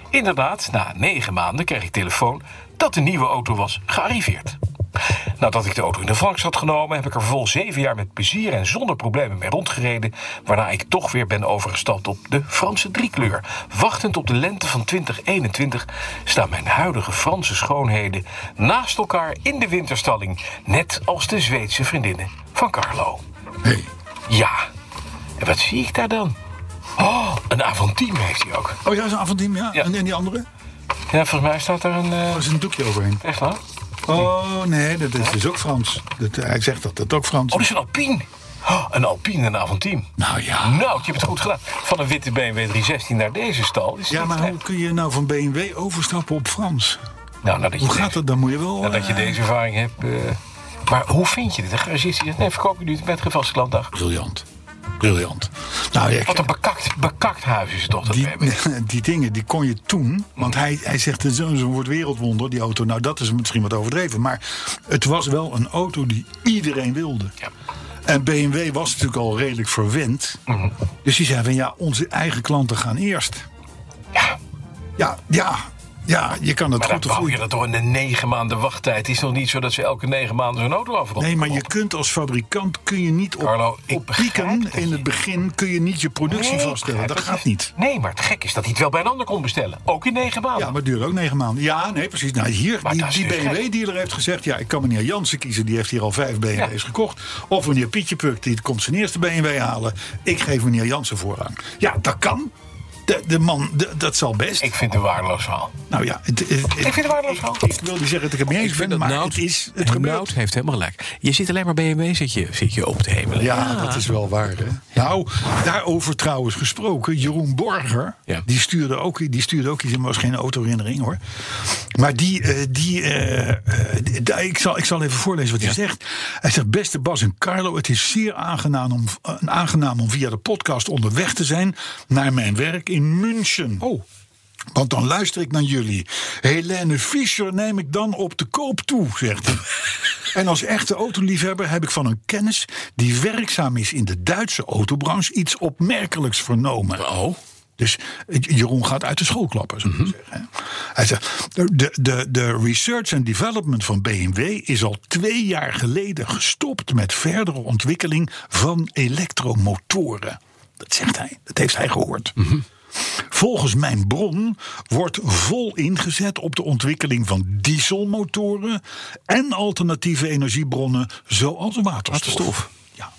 Speaker 3: Inderdaad, na negen maanden kreeg ik telefoon dat de nieuwe auto was gearriveerd. Nadat ik de auto in de vangst had genomen, heb ik er vervolgens zeven jaar met plezier en zonder problemen mee rondgereden. Waarna ik toch weer ben overgestapt op de Franse driekleur. Wachtend op de lente van 2021 staan mijn huidige Franse schoonheden naast elkaar in de winterstalling. Net als de Zweedse vriendinnen van Carlo.
Speaker 2: Hey.
Speaker 3: Ja, en wat zie ik daar dan? Oh, een avantiem heeft hij ook.
Speaker 2: Oh ja, zo'n avondteam, ja.
Speaker 3: Ja.
Speaker 2: En, en die andere? Oh,
Speaker 3: Ja, volgens mij staat daar een... eh
Speaker 2: Er is een doekje overheen.
Speaker 3: echt waar?
Speaker 2: Oh nee, dat is, is ook Frans. Dat, eh, hij zegt dat, dat is ook Frans.
Speaker 3: Oh, dat is een Alpine. Oh, een Alpine en een avantiem.
Speaker 2: nou ja.
Speaker 3: Nou, je hebt het goed gedaan. Van een witte BMW 316 naar deze stal. Is
Speaker 2: Ja,
Speaker 3: niet
Speaker 2: maar
Speaker 3: slecht.
Speaker 2: hoe kun je nou van BMW overstappen op Frans?
Speaker 3: nou, nadat je
Speaker 2: Hoe gaat
Speaker 3: deze-
Speaker 2: dat? Dan moet je wel...
Speaker 3: Nadat je
Speaker 2: eh,
Speaker 3: deze ervaring hebt... eh, maar hoe vind je dit? De garagist die zegt, nee, verkoop je nu het met gevaste klantdag.
Speaker 2: Briljant. Briljant. Nou, ja,
Speaker 3: Wat een bekakt, bekakt huis is het toch, dat
Speaker 2: Die,
Speaker 3: BMW.
Speaker 2: die dingen, die kon je toen. Want hij, hij zegt, het is een woord wereldwonder, die auto. Nou, dat is misschien wat overdreven. Maar het was wel een auto die iedereen wilde.
Speaker 3: Ja.
Speaker 2: En BMW was natuurlijk al redelijk verwend.
Speaker 1: Mhm.
Speaker 2: Dus die zei van, ja, onze eigen klanten gaan eerst.
Speaker 3: Ja,
Speaker 2: Ja, ja. Ja, je kan het
Speaker 1: Maar
Speaker 2: goed
Speaker 1: dan
Speaker 2: of
Speaker 1: bouw je
Speaker 2: goed.
Speaker 1: dat toch in de negen maanden wachttijd. Het is nog niet zo dat ze elke negen maanden zo'n auto afronden.
Speaker 2: Nee, maar je kunt als fabrikant kun je niet op,
Speaker 1: Carlo, ik
Speaker 2: op
Speaker 1: begrijp
Speaker 2: pieken
Speaker 1: dat
Speaker 2: in
Speaker 1: je-
Speaker 2: het begin kun je niet je productie
Speaker 1: Nee,
Speaker 2: vaststellen.
Speaker 1: ik
Speaker 2: Dat
Speaker 1: begrijp
Speaker 2: gaat
Speaker 1: het.
Speaker 2: niet.
Speaker 1: Nee, maar het gek is dat hij het wel bij een ander kon bestellen. Ook in negen maanden.
Speaker 2: Ja, Ah, maar het duurt ook negen maanden. Ja, nee, precies. Nou, hier,
Speaker 1: Maar
Speaker 2: die,
Speaker 1: dat is
Speaker 2: die
Speaker 1: dus gek.
Speaker 2: BMW-dealer heeft gezegd... ja, ik kan meneer Jansen kiezen, die heeft hier al vijf BMW's
Speaker 1: Ja.
Speaker 2: gekocht. Of meneer Pietje Puk, die komt zijn eerste BMW halen. Ik geef meneer Jansen voorrang. Ja, dat kan. De, de man, de- dat zal best.
Speaker 1: Ik vind het een waardeloos verhaal.
Speaker 2: nou ja, het, het-
Speaker 1: Ik vind het een waardeloos verhaal.
Speaker 2: ik wil niet zeggen dat ik het mee eens
Speaker 3: vind
Speaker 2: ben,
Speaker 3: dat nou
Speaker 2: maar
Speaker 3: Nout-
Speaker 2: het is het
Speaker 3: en
Speaker 2: gebeurt.
Speaker 3: Nout heeft helemaal gelijk. Je zit alleen maar BMW zit je, zit je op te hemelen.
Speaker 2: Ja, dat is wel waar. Hè? Nou, daarover trouwens gesproken. Jeroen Borger,
Speaker 3: Ja.
Speaker 2: die, stuurde ook, die stuurde ook iets. Het was geen autoherinnering hoor. Maar die, eh, die eh, eh, die- daar- ik, zal, ik zal even voorlezen wat hij zegt. Hij zegt, beste Bas en Carlo, het is zeer aangenaam om, eh, aangenaam om via de podcast onderweg te zijn naar mijn werk in München. Oh. Want dan luister ik naar jullie. Helene Fischer neem ik dan op de koop toe, zegt hij. En als echte autoliefhebber heb ik van een kennis die werkzaam is in de Duitse autobranche iets opmerkelijks vernomen.
Speaker 3: Oh,
Speaker 2: Dus Jeroen gaat uit de school klappen, zou ik maar zeggen. hè. Hij zegt, de, de, de research and development van BMW is al twee jaar geleden gestopt met verdere ontwikkeling van elektromotoren. Dat zegt hij, dat heeft hij gehoord. Volgens mijn bron wordt vol ingezet op de ontwikkeling van dieselmotoren en alternatieve energiebronnen zoals waterstof.
Speaker 3: Waterstof.
Speaker 2: Ja.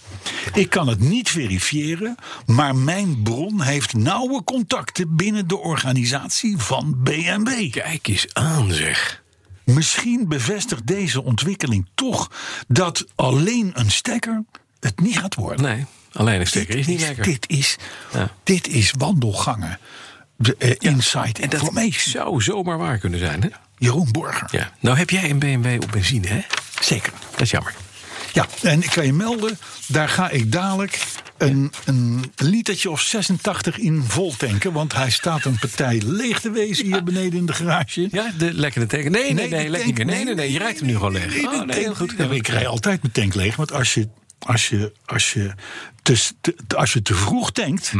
Speaker 2: Ik kan het niet verifiëren, maar mijn bron heeft nauwe contacten binnen de organisatie van BMW.
Speaker 3: kijk eens aan zeg.
Speaker 2: Misschien bevestigt deze ontwikkeling toch dat alleen een stekker het niet gaat worden.
Speaker 3: Nee, alleen een stekker is
Speaker 2: Dit
Speaker 3: niet lekker.
Speaker 2: Dit is,
Speaker 3: Ja.
Speaker 2: dit is wandelgangen. De, eh, inside
Speaker 3: en dat
Speaker 2: information.
Speaker 3: zou zomaar waar kunnen zijn, hè?
Speaker 2: Jeroen Borger.
Speaker 3: Ja. Nou heb jij een BMW op benzine, hè?
Speaker 2: Zeker.
Speaker 3: Dat is jammer.
Speaker 2: Ja, en ik kan je melden, daar ga ik dadelijk een, een litertje of 86 in vol tanken. Want hij staat een partij leeg te wezen hier beneden in de garage.
Speaker 3: Ja, de lekkende teken. Nee, nee,
Speaker 2: de
Speaker 3: nee, lek
Speaker 2: tank-
Speaker 3: niet meer. Nee, nee, nee, je rijdt hem nu gewoon leeg.
Speaker 2: Nee, de
Speaker 3: Oh, nee,
Speaker 2: tank-
Speaker 3: heel goed.
Speaker 2: Ja, maar ik rij altijd mijn tank leeg. Want als je, als je, als je, te, te- als je te vroeg tankt,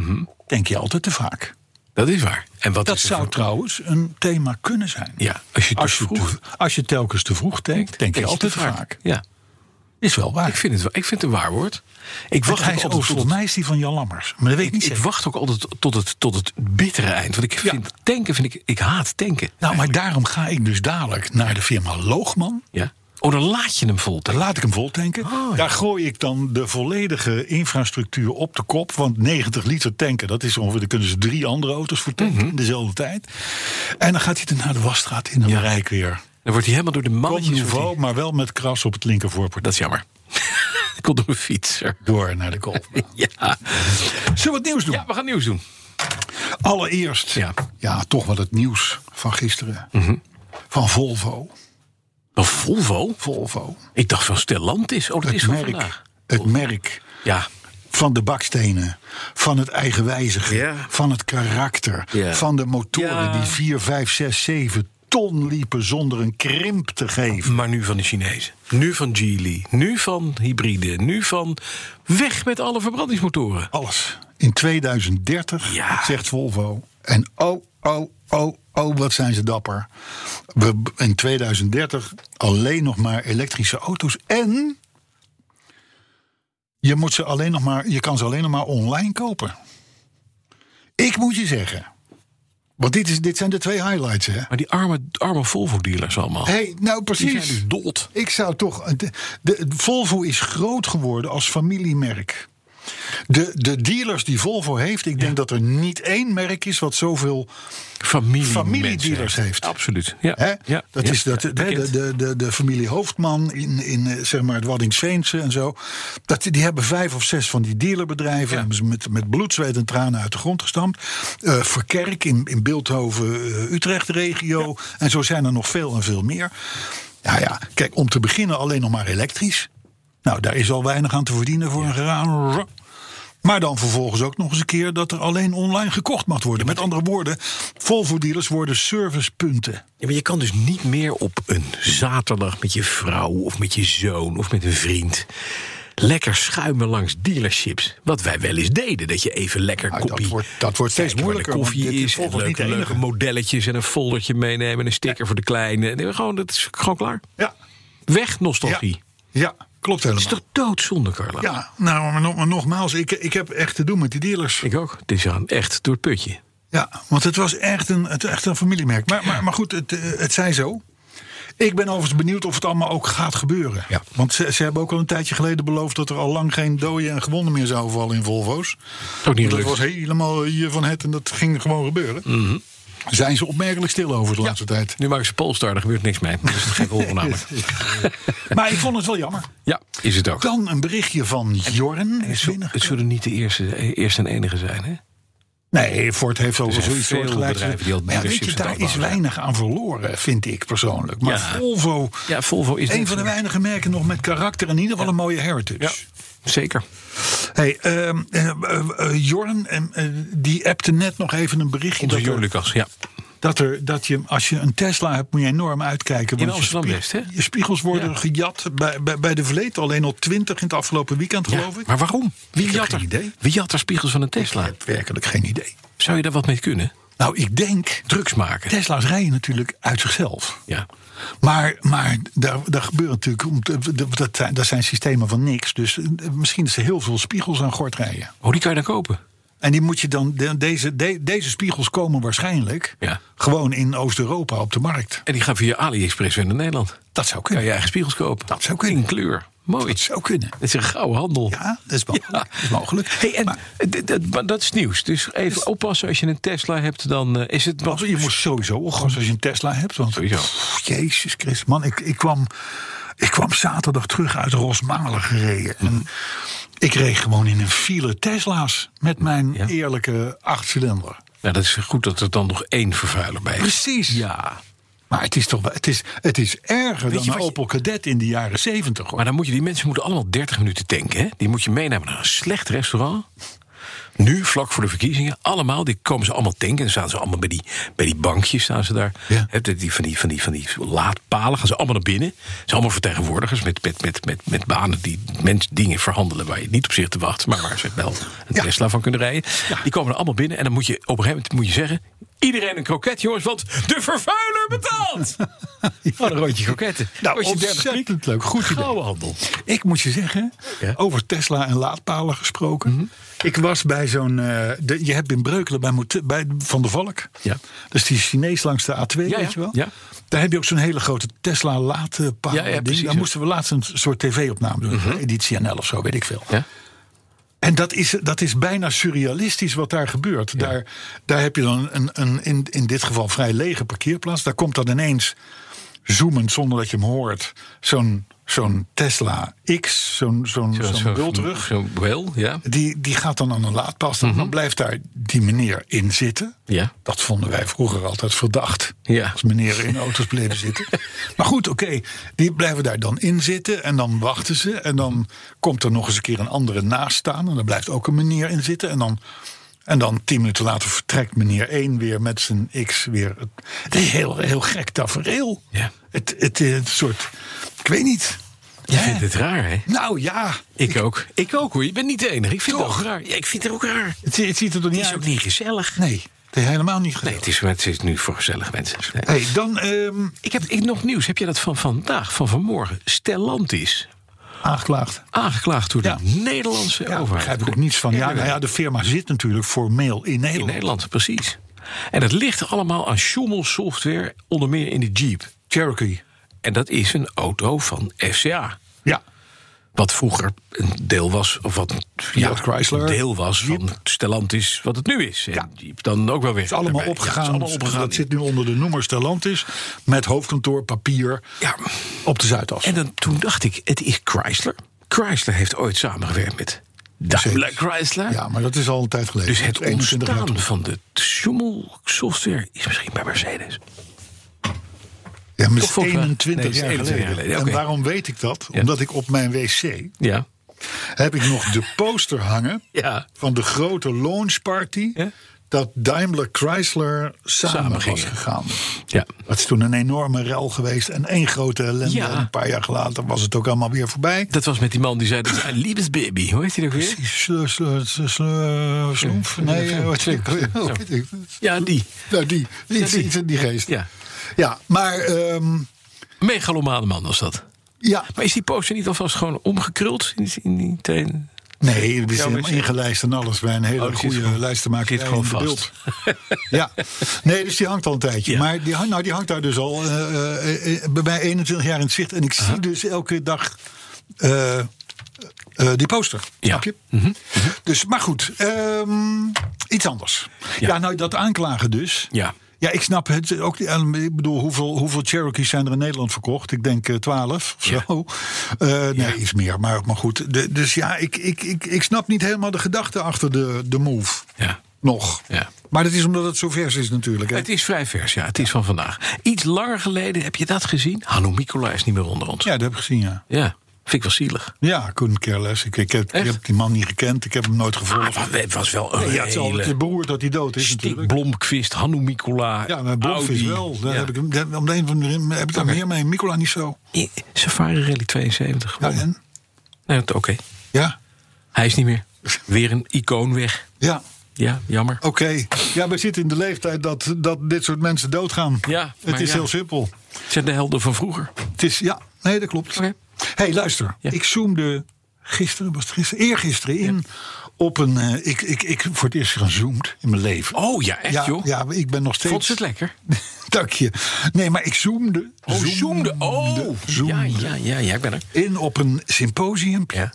Speaker 2: tank je altijd te vaak.
Speaker 3: Mhm. Dat is waar. En wat
Speaker 2: Dat
Speaker 3: is er
Speaker 2: zou
Speaker 3: voor-
Speaker 2: trouwens een thema kunnen zijn.
Speaker 3: Ja, als je te
Speaker 2: als, je
Speaker 3: vroeg
Speaker 2: te- als je telkens te vroeg tankt, tank je
Speaker 3: Denk
Speaker 2: altijd
Speaker 3: te
Speaker 2: te vaak.
Speaker 3: Ja,
Speaker 2: Is wel waar.
Speaker 3: ik vind het, wel- ik vind het een waar woord. Ik
Speaker 2: Want
Speaker 3: wacht
Speaker 2: hij
Speaker 3: ook
Speaker 2: is
Speaker 3: altijd
Speaker 2: ook,
Speaker 3: tot het,
Speaker 2: volgens mij is die van Jan Lammers. Maar dat weet ik niet
Speaker 3: ik
Speaker 2: zeker.
Speaker 3: wacht ook altijd tot het, tot het bittere eind. Want ik vind tanken, vind ik, ik haat tanken.
Speaker 2: Nou, maar daarom ga ik dus dadelijk naar de firma Loogman.
Speaker 3: Ja. Oh, dan laat je hem vol.
Speaker 2: Dan
Speaker 3: tanken.
Speaker 2: laat ik hem vol tanken.
Speaker 3: Ah, ja.
Speaker 2: Daar gooi ik dan de volledige infrastructuur op de kop. Want 90 liter tanken, dat is ongeveer. Daar kunnen ze drie andere auto's voor tanken
Speaker 3: Mhm.
Speaker 2: in dezelfde tijd. En dan gaat hij dan naar de wasstraat in. Dan
Speaker 3: Ja.
Speaker 2: rijk weer.
Speaker 3: Dan wordt hij helemaal door de
Speaker 2: Kom
Speaker 3: mannetjes... wordt
Speaker 2: niveau,
Speaker 3: hij-
Speaker 2: maar wel met kras op het linkervoorport.
Speaker 3: Dat is jammer. Ik komt door een fietser.
Speaker 2: Door naar de golf.
Speaker 3: Ja.
Speaker 2: Zullen we wat nieuws doen?
Speaker 3: ja, we gaan nieuws doen.
Speaker 2: Allereerst, ja.
Speaker 3: Ja. Mhm.
Speaker 2: toch wel het nieuws van gisteren. Van Volvo.
Speaker 3: Een Volvo?
Speaker 2: Volvo.
Speaker 3: Ik dacht van Stellantis. Oh, dat
Speaker 2: Het
Speaker 3: is van
Speaker 2: merk,
Speaker 3: vandaag.
Speaker 2: het merk
Speaker 3: Ja,
Speaker 2: van de bakstenen, van het eigenwijzige,
Speaker 3: Ja.
Speaker 2: van het karakter,
Speaker 3: Ja.
Speaker 2: van de motoren
Speaker 3: Ja.
Speaker 2: die 4, 5, 6, 7 ton liepen zonder een krimp te geven.
Speaker 3: maar nu van de Chinezen. Nu van Geely. Nu van hybride. Nu van weg met alle verbrandingsmotoren.
Speaker 2: Alles. In 2030,
Speaker 3: Ja.
Speaker 2: zegt Volvo. En oh, oh, oh, oh, wat zijn ze dapper. We b- in 2030 alleen nog maar elektrische auto's. En je, moet ze alleen nog maar, je kan ze alleen nog maar online kopen. Ik moet je zeggen. Want dit, is, dit zijn de twee highlights, hè?
Speaker 3: Maar die arme, arme Volvo-dealers allemaal.
Speaker 2: hey, nou
Speaker 3: die
Speaker 2: precies.
Speaker 3: zijn dus dood.
Speaker 2: Ik zou toch. De, de- Volvo is groot geworden als familiemerk. De, de dealers die Volvo heeft, ik denk dat er niet één merk is wat zoveel.
Speaker 3: Familie
Speaker 2: Familiedealers heeft.
Speaker 3: Absoluut. Ja.
Speaker 2: Hè?
Speaker 3: Ja.
Speaker 2: dat
Speaker 3: Ja.
Speaker 2: is dat, hè, de,
Speaker 3: Bekend.
Speaker 2: de, de, de familie Hoofdman in, in eh, zeg maar het Waddingsveense en zo. Dat, die hebben vijf of zes van die dealerbedrijven. Hebben ze met, met bloed, zweet en tranen uit de grond gestampt. Eh, Verkerk in, in Beeldhoven-Utrecht-regio. En zo zijn er nog veel en veel meer. Nou ja, kijk, om te beginnen alleen nog maar elektrisch. Nou, daar is al weinig aan te verdienen voor een garage. Maar dan vervolgens ook nog eens een keer dat er alleen online gekocht mag worden. Met andere woorden, Volvo-dealers worden servicepunten.
Speaker 3: Ja, maar je kan dus niet meer op een zaterdag met je vrouw of met je zoon of met een vriend Lekker schuimen langs dealerships. Wat wij wel eens deden. Dat je even lekker
Speaker 2: Ah, dat
Speaker 3: koffie...
Speaker 2: wordt- dat wordt steeds
Speaker 3: kijken waar de
Speaker 2: moeilijker, want
Speaker 3: koffie
Speaker 2: dit is
Speaker 3: is. En
Speaker 2: volgens
Speaker 3: leuke,
Speaker 2: niet de
Speaker 3: leuke
Speaker 2: enige.
Speaker 3: modelletjes en een foldertje meenemen. En een sticker voor de kleine. Nee, gewoon, dat is gewoon klaar.
Speaker 2: Ja,
Speaker 3: Weg
Speaker 2: ja,
Speaker 3: nostalgie.
Speaker 2: ja, klopt
Speaker 3: Het is
Speaker 2: helemaal.
Speaker 3: toch doodzonde, Carla?
Speaker 2: Ja, nou, maar, nog- maar nogmaals, ik, ik heb echt te doen met die dealers.
Speaker 3: Ik ook. Het is aan echt door het putje.
Speaker 2: Ja, want het was echt een, het, echt een familiemerk. Maar, maar, maar goed, het, eh, het zij zo. Ik ben overigens benieuwd of het allemaal ook gaat gebeuren.
Speaker 3: Ja.
Speaker 2: Want ze, ze hebben ook al een tijdje geleden beloofd... dat er al lang geen doden en gewonden meer zouden vallen in Volvo's.
Speaker 3: Ook niet
Speaker 2: dat
Speaker 3: gelukt.
Speaker 2: was helemaal hier van het en dat ging gewoon gebeuren.
Speaker 3: Mhm.
Speaker 2: Zijn ze opmerkelijk stil over de laatste tijd.
Speaker 3: Nu maken ze Polestar, er gebeurt niks mee. Dus het geeft rol namelijk.
Speaker 2: Maar ik vond het wel jammer.
Speaker 3: Ja, is het ook.
Speaker 2: Dan een berichtje van Jorn is binnen.
Speaker 3: Het zullen niet de eerste, eh, eerste en enige zijn, hè?
Speaker 2: Nee, Ford heeft al
Speaker 3: zijn
Speaker 2: zoiets
Speaker 3: veel
Speaker 2: soortgelijks.
Speaker 3: bedrijven die al
Speaker 2: Maar ja, weet je,
Speaker 3: dealerships
Speaker 2: daar
Speaker 3: aan het
Speaker 2: is
Speaker 3: bouwen
Speaker 2: weinig aan verloren, vind ik persoonlijk. Maar
Speaker 3: Ja.
Speaker 2: Volvo,
Speaker 3: Ja, Volvo is
Speaker 2: een
Speaker 3: niks
Speaker 2: van de
Speaker 3: meer.
Speaker 2: weinige merken nog met karakter en in ieder geval een mooie heritage.
Speaker 3: Zeker.
Speaker 2: Hey, ehm, eh, eh, eh, Jorn, ehm, eh, die appte net nog even een berichtje dat
Speaker 3: Onze
Speaker 2: er,
Speaker 3: Jor Lucas, ja.
Speaker 2: dat er dat je als je een Tesla hebt moet je enorm uitkijken.
Speaker 3: In
Speaker 2: want je
Speaker 3: Amsterdam
Speaker 2: spie-
Speaker 3: West, hè?
Speaker 2: Je spiegels worden
Speaker 3: Ja.
Speaker 2: gejat bij, bij, bij de Vleet, alleen al 20 in het afgelopen weekend,
Speaker 3: Ja,
Speaker 2: geloof ik.
Speaker 3: Maar waarom? Wie
Speaker 2: Ik heb
Speaker 3: jat, er,
Speaker 2: geen idee.
Speaker 3: wie jat er spiegels van een
Speaker 2: Ik
Speaker 3: Tesla?
Speaker 2: heb werkelijk geen idee.
Speaker 3: Zou je daar wat mee kunnen?
Speaker 2: Nou, ik denk,
Speaker 3: Drugs maken.
Speaker 2: Tesla's rijden natuurlijk uit zichzelf.
Speaker 3: Ja.
Speaker 2: Maar, maar daar, daar gebeurt natuurlijk, om te- dat- dat zijn, dat zijn systemen van niks. Dus eh, misschien dat ze heel veel spiegels aan gort rijden.
Speaker 3: Oh, die kan je dan kopen.
Speaker 2: En die moet je dan, de- deze, de- deze spiegels komen waarschijnlijk
Speaker 3: Ja.
Speaker 2: gewoon in Oost-Europa op de markt.
Speaker 3: En die gaan via AliExpress weer naar Nederland.
Speaker 2: Dat zou
Speaker 3: Kan
Speaker 2: kunnen.
Speaker 3: je eigen spiegels kopen.
Speaker 2: Dat zou kunnen.
Speaker 3: In kleur. Mooi.
Speaker 2: Dat zou kunnen.
Speaker 3: Het is een gouden handel.
Speaker 2: Ja, dat is mogelijk.
Speaker 3: Ja.
Speaker 2: Dat is mogelijk.
Speaker 3: Hey, en
Speaker 2: Maar-
Speaker 3: d- d- maar dat is nieuws. Dus even oppassen als je een Tesla hebt, dan eh, is het
Speaker 2: Want
Speaker 3: wel.
Speaker 2: je moet sowieso oppassen als je een Tesla hebt. Want,
Speaker 3: Sowieso.
Speaker 2: Pff, jezus Christus, man. Ik, ik, kwam, ik kwam zaterdag terug uit Rosmalen gereden.
Speaker 3: Mhm.
Speaker 2: En ik reed gewoon in een file Tesla's met mijn
Speaker 3: Mhm, Ja.
Speaker 2: eerlijke achtcilinder.
Speaker 3: Nou, dat is goed dat er dan nog één vervuiler bij is.
Speaker 2: Precies.
Speaker 3: Ja.
Speaker 2: Maar het is toch wel- het is, het is erger
Speaker 3: je
Speaker 2: dan een
Speaker 3: wat je-
Speaker 2: Opel Kadett in de jaren zeventig.
Speaker 3: Maar dan moet je, die mensen moeten allemaal 30 minuten tanken. Hè? Die moet je meenemen naar een slecht restaurant. Nu, vlak voor de verkiezingen, allemaal. Die komen ze allemaal tanken. Dan staan ze allemaal bij die, bij die bankjes. Staan ze daar.
Speaker 2: Ja.
Speaker 3: Hè, die, die- van, die, van, die, van die laadpalen gaan ze allemaal naar binnen. Ze zijn allemaal vertegenwoordigers met, met, met, met, met banen die mensen dingen verhandelen waar je niet op zich te wachten. Maar waar ze wel een
Speaker 2: Ja.
Speaker 3: Tesla van kunnen rijden. Die komen er allemaal binnen. En dan moet je op een gegeven moment moet je zeggen: iedereen een kroket, jongens, want de vervuiler betaalt. Oh, een roodje kroketten.
Speaker 2: Nou,
Speaker 3: Als je 30 piek-
Speaker 2: ontzettend leuk. Goed idee.
Speaker 3: Gouden handel.
Speaker 2: Ik moet je zeggen,
Speaker 3: Ja. Mhm.
Speaker 2: over Tesla en laadpalen gesproken. Ik was bij zo'n. eh, de- je hebt in Breukelen bij, Moet- bij Van der Valk.
Speaker 3: Ja.
Speaker 2: Dus die Chinees langs de A2,
Speaker 3: Ja,
Speaker 2: weet
Speaker 3: ja,
Speaker 2: je wel.
Speaker 3: ja.
Speaker 2: Daar heb je ook zo'n hele grote Tesla laadpaal.
Speaker 3: Ja, ja,
Speaker 2: ding.
Speaker 3: precies,
Speaker 2: Daar
Speaker 3: ja. Mhm.
Speaker 2: moesten we laatst een soort tv-opname doen. Editie NL of zo, weet ik veel.
Speaker 3: Ja?
Speaker 2: En dat is, dat is bijna surrealistisch wat daar gebeurt. Daar, daar heb je dan een, een in, in dit geval vrij lege parkeerplaats. Daar komt dan ineens, zoemend zonder dat je hem hoort, zo'n zo'n Tesla X, zo'n zo'n zo'n bul terug.
Speaker 3: Zo'n wel, ja.
Speaker 2: Die, die gaat dan aan een laadpas. Dan blijft daar die meneer in zitten.
Speaker 3: Mhm. Ja.
Speaker 2: Dat vonden wij vroeger altijd verdacht.
Speaker 3: Ja.
Speaker 2: Als meneer in auto's bleven zitten. Maar goed, oké. Die blijven daar dan in zitten. En dan wachten ze. En dan komt er nog eens een keer een andere naast staan. En daar blijft ook een meneer in zitten. En dan, en dan tien minuten later vertrekt meneer 1 weer met zijn X weer. Het is heel, heel gek tafereel.
Speaker 3: Ja.
Speaker 2: Het, het, is een soort. Ik weet niet.
Speaker 3: Je
Speaker 2: Hè?
Speaker 3: vindt het raar, hè?
Speaker 2: Nou ja.
Speaker 3: Ik ook. Ik ook hoor. Je bent niet de enige. Ik vind het ook raar. Ja, ik vind het ook raar.
Speaker 2: Het, het ziet er
Speaker 3: Het
Speaker 2: toch niet
Speaker 3: is ook
Speaker 2: uit.
Speaker 3: niet gezellig.
Speaker 2: Nee, het is helemaal
Speaker 3: Nee,
Speaker 2: niet gezellig.
Speaker 3: het is, het is nu voor gezellig mensen. Nee.
Speaker 2: hey, dan ehm,
Speaker 3: Ik heb ik, nog nieuws. Heb je dat van vandaag, van vanmorgen? Stellantis,
Speaker 2: aangeklaagd.
Speaker 3: aangeklaagd door
Speaker 2: Ja.
Speaker 3: de Nederlandse
Speaker 2: Ja, daar
Speaker 3: overheid.
Speaker 2: begrijp ik ook niets van. Ja, nou ja, de firma zit natuurlijk formeel in
Speaker 3: In
Speaker 2: Nederland.
Speaker 3: Nederland, precies. En dat ligt allemaal aan Schommel software, onder meer in de Jeep.
Speaker 2: Cherokee.
Speaker 3: En dat is een auto van FCA.
Speaker 2: Ja,
Speaker 3: wat vroeger een deel was, of wat een- ja,
Speaker 2: Chrysler,
Speaker 3: een deel was van Stellantis, wat het nu is. En
Speaker 2: Ja.
Speaker 3: Jeep dan ook wel weer.
Speaker 2: het is allemaal
Speaker 3: erbij. Ja, het
Speaker 2: opgegaan. dus
Speaker 3: is allemaal opgegaan.
Speaker 2: Dat zit nu onder de noemer Stellantis. Met hoofdkantoor, papier
Speaker 3: Ja.
Speaker 2: op de Zuidas.
Speaker 3: En dan, toen dacht ik, het is Chrysler. Chrysler heeft ooit samengewerkt met Daimler Chrysler.
Speaker 2: ja, maar dat is al een tijd geleden.
Speaker 3: Dus het
Speaker 2: 21 jaar
Speaker 3: ontstaan van de Schummel software is misschien bij Mercedes.
Speaker 2: terug. Ja, maar het
Speaker 3: Toch
Speaker 2: is
Speaker 3: volgens mij-
Speaker 2: 21
Speaker 3: nee, het is
Speaker 2: jaar
Speaker 3: 21
Speaker 2: geleden.
Speaker 3: jaar geleden, oké.
Speaker 2: En waarom weet ik dat?
Speaker 3: Ja.
Speaker 2: Omdat ik op mijn wc
Speaker 3: Ja.
Speaker 2: heb ik nog de poster hangen
Speaker 3: Ja.
Speaker 2: van de grote launchparty.
Speaker 3: Ja.
Speaker 2: dat Daimler Chrysler samen,
Speaker 3: Samen
Speaker 2: was
Speaker 3: gingen.
Speaker 2: gegaan.
Speaker 3: Ja.
Speaker 2: Dat is toen een enorme rel geweest en één grote ellende.
Speaker 3: Ja.
Speaker 2: En een paar jaar later was het ook allemaal weer voorbij.
Speaker 3: Dat was met die man die zei, dat is een liebesbaby. Hoe heet hij dat weer?
Speaker 2: Sleur, sleur, sleur, sleur, sloemf? Nee, eh, wat
Speaker 3: Sleur, sleur,
Speaker 2: hoe
Speaker 3: zo.
Speaker 2: heet ik?
Speaker 3: Ja, die.
Speaker 2: Nou, die,
Speaker 3: Ja,
Speaker 2: iets,
Speaker 3: die.
Speaker 2: iets in die geest.
Speaker 3: Ja.
Speaker 2: ja maar ehm,
Speaker 3: Megalomane man was dat.
Speaker 2: ja,
Speaker 3: Maar is die poster niet alvast gewoon omgekruld in, in die teen?
Speaker 2: Nee, het is
Speaker 3: Ja,
Speaker 2: helemaal
Speaker 3: maar-
Speaker 2: ingelijst en alles. Bij een hele
Speaker 3: Oh, die zit
Speaker 2: goede
Speaker 3: gewoon-
Speaker 2: lijst te maken.
Speaker 3: zit gewoon vast.
Speaker 2: ja, nee, dus die hangt al een tijdje.
Speaker 3: Ja.
Speaker 2: Maar die, hang- nou, die hangt daar dus al eh, eh, eh, bij mij 21 jaar in het zicht. En ik zie dus elke dag eh, eh, die poster.
Speaker 3: Ja. Mhm.
Speaker 2: Snap je? Dus, maar goed, ehm, iets anders. Ja.
Speaker 3: Ja.
Speaker 2: nou, dat aanklagen dus.
Speaker 3: Ja.
Speaker 2: Ja, ik snap het ook. niet. En Ik bedoel, hoeveel, hoeveel Cherokees zijn er in Nederland verkocht? Ik denk eh, twaalf of
Speaker 3: Ja.
Speaker 2: zo. Eh, nee, iets meer, maar, maar goed. De- dus ja, ik, ik, ik, ik snap niet helemaal de gedachte achter de, de move.
Speaker 3: Ja.
Speaker 2: Nog.
Speaker 3: Ja.
Speaker 2: Maar dat is omdat het zo vers is natuurlijk. hè.
Speaker 3: Het is vrij vers, ja. Het is van vandaag. Iets langer geleden, heb je dat gezien? Hanno Mikula is niet meer onder ons.
Speaker 2: Ja, dat heb ik gezien, ja.
Speaker 3: Ja, vind ik wel zielig.
Speaker 2: Ja, couldn't care less. Ik, ik, heb, ik
Speaker 3: Echt?
Speaker 2: heb die man niet gekend. Ik heb hem nooit gevolgd.
Speaker 3: Maar het was wel een
Speaker 2: Nee, ja, het is altijd
Speaker 3: hele...
Speaker 2: beroerd dat hij dood is
Speaker 3: Stik,
Speaker 2: natuurlijk.
Speaker 3: Blomqvist, Hanno Mikula,
Speaker 2: Ja, maar Blomf is
Speaker 3: Audi.
Speaker 2: wel. Daar
Speaker 3: Ja.
Speaker 2: heb ik, hem- daar- om de een van de reden heb ik daar meer mee. Nicola niet zo.
Speaker 3: I- Safari Rally 72
Speaker 2: Ja,
Speaker 3: gewonnen.
Speaker 2: en?
Speaker 3: Nee, dat- Oké,
Speaker 2: Ja?
Speaker 3: hij is niet meer. Weer een icoon weg.
Speaker 2: Ja.
Speaker 3: Ja, jammer.
Speaker 2: Oké, ja, we zitten in de leeftijd dat, dat dit soort mensen doodgaan.
Speaker 3: Ja,
Speaker 2: het
Speaker 3: maar
Speaker 2: is
Speaker 3: ja.
Speaker 2: heel simpel.
Speaker 3: Zijn de helden van vroeger.
Speaker 2: Het is, ja, nee, dat klopt.
Speaker 3: Oké.
Speaker 2: hey, luister.
Speaker 3: Ja.
Speaker 2: Ik zoomde gisteren, was het gisteren, eergisteren in op een... eh, ik, ik, ik voor het eerst gezoomd in mijn leven.
Speaker 3: Oh ja, echt
Speaker 2: ja,
Speaker 3: joh.
Speaker 2: ja, ik ben nog steeds...
Speaker 3: Vond ze het lekker?
Speaker 2: Dank je. Nee, maar ik zoomde.
Speaker 3: Oh, zoemde. Oh, ja,
Speaker 2: zoomde
Speaker 3: ja, ja, ja, ik ben er.
Speaker 2: in op een symposium.
Speaker 3: Ja.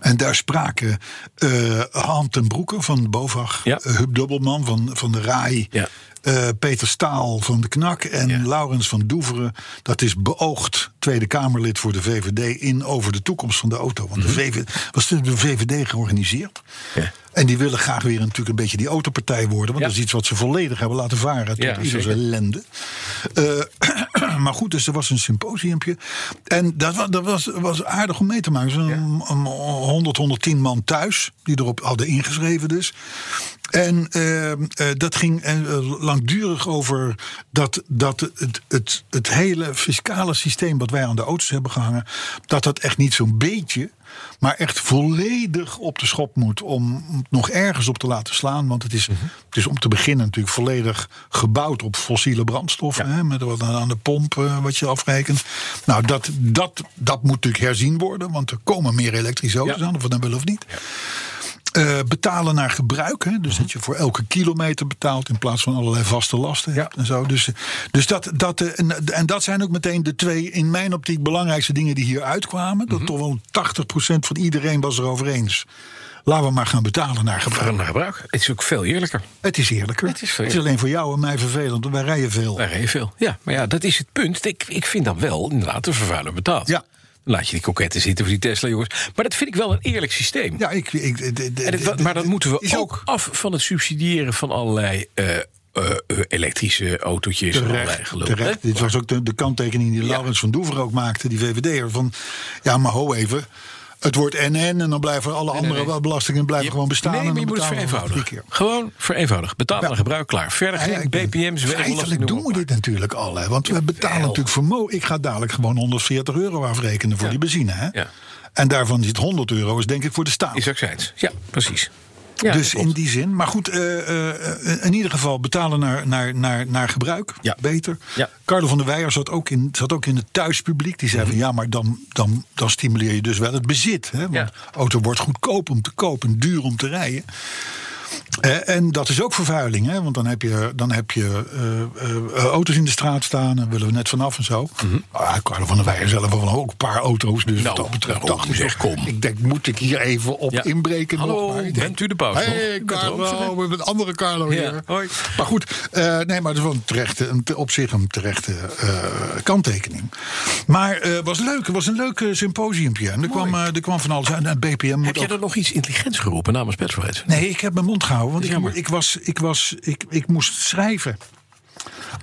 Speaker 2: En daar spraken eh Han ten Broeke van de BOVAG,
Speaker 3: Ja.
Speaker 2: eh, Huub Dubbelman van, van de RAI,
Speaker 3: Ja.
Speaker 2: eh, Peter Staal van de KNAK en
Speaker 3: Ja.
Speaker 2: Laurens van Doeveren. Dat is beoogd Tweede Kamerlid voor de VVD in over de toekomst van de auto. Want de
Speaker 3: Mhm.
Speaker 2: VVD, was de VVD georganiseerd.
Speaker 3: Ja.
Speaker 2: En die willen graag weer natuurlijk een beetje die autopartij worden. Want
Speaker 3: Ja.
Speaker 2: dat is iets wat ze volledig hebben laten varen tot
Speaker 3: Ja,
Speaker 2: ieders
Speaker 3: zeker.
Speaker 2: ellende. Eh, maar goed, dus er was een symposiumpje. En dat, wa- dat was, was aardig om mee te maken. Zo'n een 100, 110 man thuis, die erop hadden ingeschreven dus. En eh, eh, dat ging eh, langdurig over dat, dat het, het, het hele fiscale systeem wat wij aan de auto's hebben gehangen, dat dat echt niet zo'n beetje, maar echt volledig op de schop moet om het nog ergens op te laten slaan. Want het is, het is om te beginnen natuurlijk volledig gebouwd op fossiele brandstoffen. Hè, met wat aan aan de pomp eh, wat je afrekent. Nou, dat, dat, dat moet natuurlijk herzien worden, want er komen meer elektrische auto's
Speaker 3: Ja.
Speaker 2: aan, of we dan willen of niet. Eh, betalen naar gebruik. Hè? Dus
Speaker 3: Mhm.
Speaker 2: dat je voor elke kilometer betaalt in plaats van allerlei vaste lasten hebt en zo. Dus, dus dat, dat, eh, en, en dat zijn ook meteen de twee, in mijn optiek, belangrijkste dingen die hier uitkwamen.
Speaker 3: Mhm.
Speaker 2: Dat toch wel 80% van iedereen was erover eens. Laten we maar gaan betalen naar gebruik.
Speaker 3: Naar gebruik. Het is ook veel eerlijker.
Speaker 2: Het is eerlijker.
Speaker 3: Het is veel
Speaker 2: alleen voor jou en mij vervelend, want wij rijden veel.
Speaker 3: Daar heel veel. Ja, maar ja, dat is het punt. Ik, ik vind dan wel, inderdaad, de vervuiler betaalt.
Speaker 2: Ja.
Speaker 3: Dan laat je die koketten zitten voor die Tesla, jongens. Maar dat vind ik wel een eerlijk systeem.
Speaker 2: Ja, ik, ik, d- d- d-
Speaker 3: En het- maar dat moeten we
Speaker 2: is
Speaker 3: ook, af van het subsidiëren van allerlei eh, eh, eh, elektrische autootjes. en allerlei
Speaker 2: Terecht,
Speaker 3: gelul,
Speaker 2: terecht.
Speaker 3: hè?
Speaker 2: Dit was ook de, de kanttekening die
Speaker 3: Ja.
Speaker 2: Laurens van Doever ook maakte, die VVD'er. Van, ja, maar ho even. Het wordt NN en dan blijven alle andere
Speaker 3: nee.
Speaker 2: belastingen blijven
Speaker 3: Je-
Speaker 2: gewoon bestaan.
Speaker 3: Nee,
Speaker 2: en
Speaker 3: maar
Speaker 2: dan
Speaker 3: je moet het
Speaker 2: betalen we
Speaker 3: vereenvoudigen.
Speaker 2: drie keer.
Speaker 3: Gewoon vereenvoudig. Betalen
Speaker 2: Ja.
Speaker 3: naar gebruik, klaar. Verder
Speaker 2: Ja,
Speaker 3: geen
Speaker 2: ik ben-
Speaker 3: BPM's,
Speaker 2: Feitelijk doen we dit natuurlijk al. Hè, want we betalen natuurlijk vermogen. Ik ga dadelijk gewoon 140 euro afrekenen voor die benzine. Hè?
Speaker 3: Ja.
Speaker 2: En daarvan zit 100 euro is denk ik voor de staat.
Speaker 3: Is ook zijns. Ja, precies. Ja,
Speaker 2: dus
Speaker 3: klopt.
Speaker 2: in die zin. Maar goed, eh, eh, eh, in ieder geval betalen naar, naar, naar, naar gebruik.
Speaker 3: Ja.
Speaker 2: Beter.
Speaker 3: Ja.
Speaker 2: Carlo van der Weijer zat ook in, zat ook in het thuispubliek. Die zei
Speaker 3: Mhm.
Speaker 2: van ja, maar dan, dan, dan stimuleer je dus wel het bezit. Hè? Want
Speaker 3: Ja.
Speaker 2: auto wordt goedkoop om te kopen, duur om te rijden. Eh, en dat is ook vervuiling, hè? want dan heb je, dan heb je eh, eh, auto's in de straat staan en willen we net vanaf en zo. Ah, Carlo van der Weijer zelf wel ook een paar auto's, dus wat dat betreft
Speaker 3: Mhm. nou,
Speaker 2: dacht ik,
Speaker 3: zeg, kom.
Speaker 2: ik denk, moet ik hier even op
Speaker 3: Ja.
Speaker 2: inbreken?
Speaker 3: Hallo,
Speaker 2: nog, maar ik
Speaker 3: bent u de paus nog? U
Speaker 2: Hey,
Speaker 3: bent
Speaker 2: Carlo,
Speaker 3: Roomser,
Speaker 2: we hebben een andere Carlo
Speaker 3: Ja,
Speaker 2: hier.
Speaker 3: hoi.
Speaker 2: Maar goed, eh, nee, maar dat is wel een terechte, een, te- op zich een terechte eh, kanttekening. Maar eh, het was leuk, het was een leuk eh, symposiumpje. En er kwam, eh, er kwam van alles uit. En het BPM moet
Speaker 3: Heb jij
Speaker 2: ook-
Speaker 3: er nog iets intelligents geroepen namens Petrolheads?
Speaker 2: Nee, ik heb mijn mond gehouden, want
Speaker 3: Is
Speaker 2: ik,
Speaker 3: jammer.
Speaker 2: ik, was, ik, was, ik, ik moest schrijven.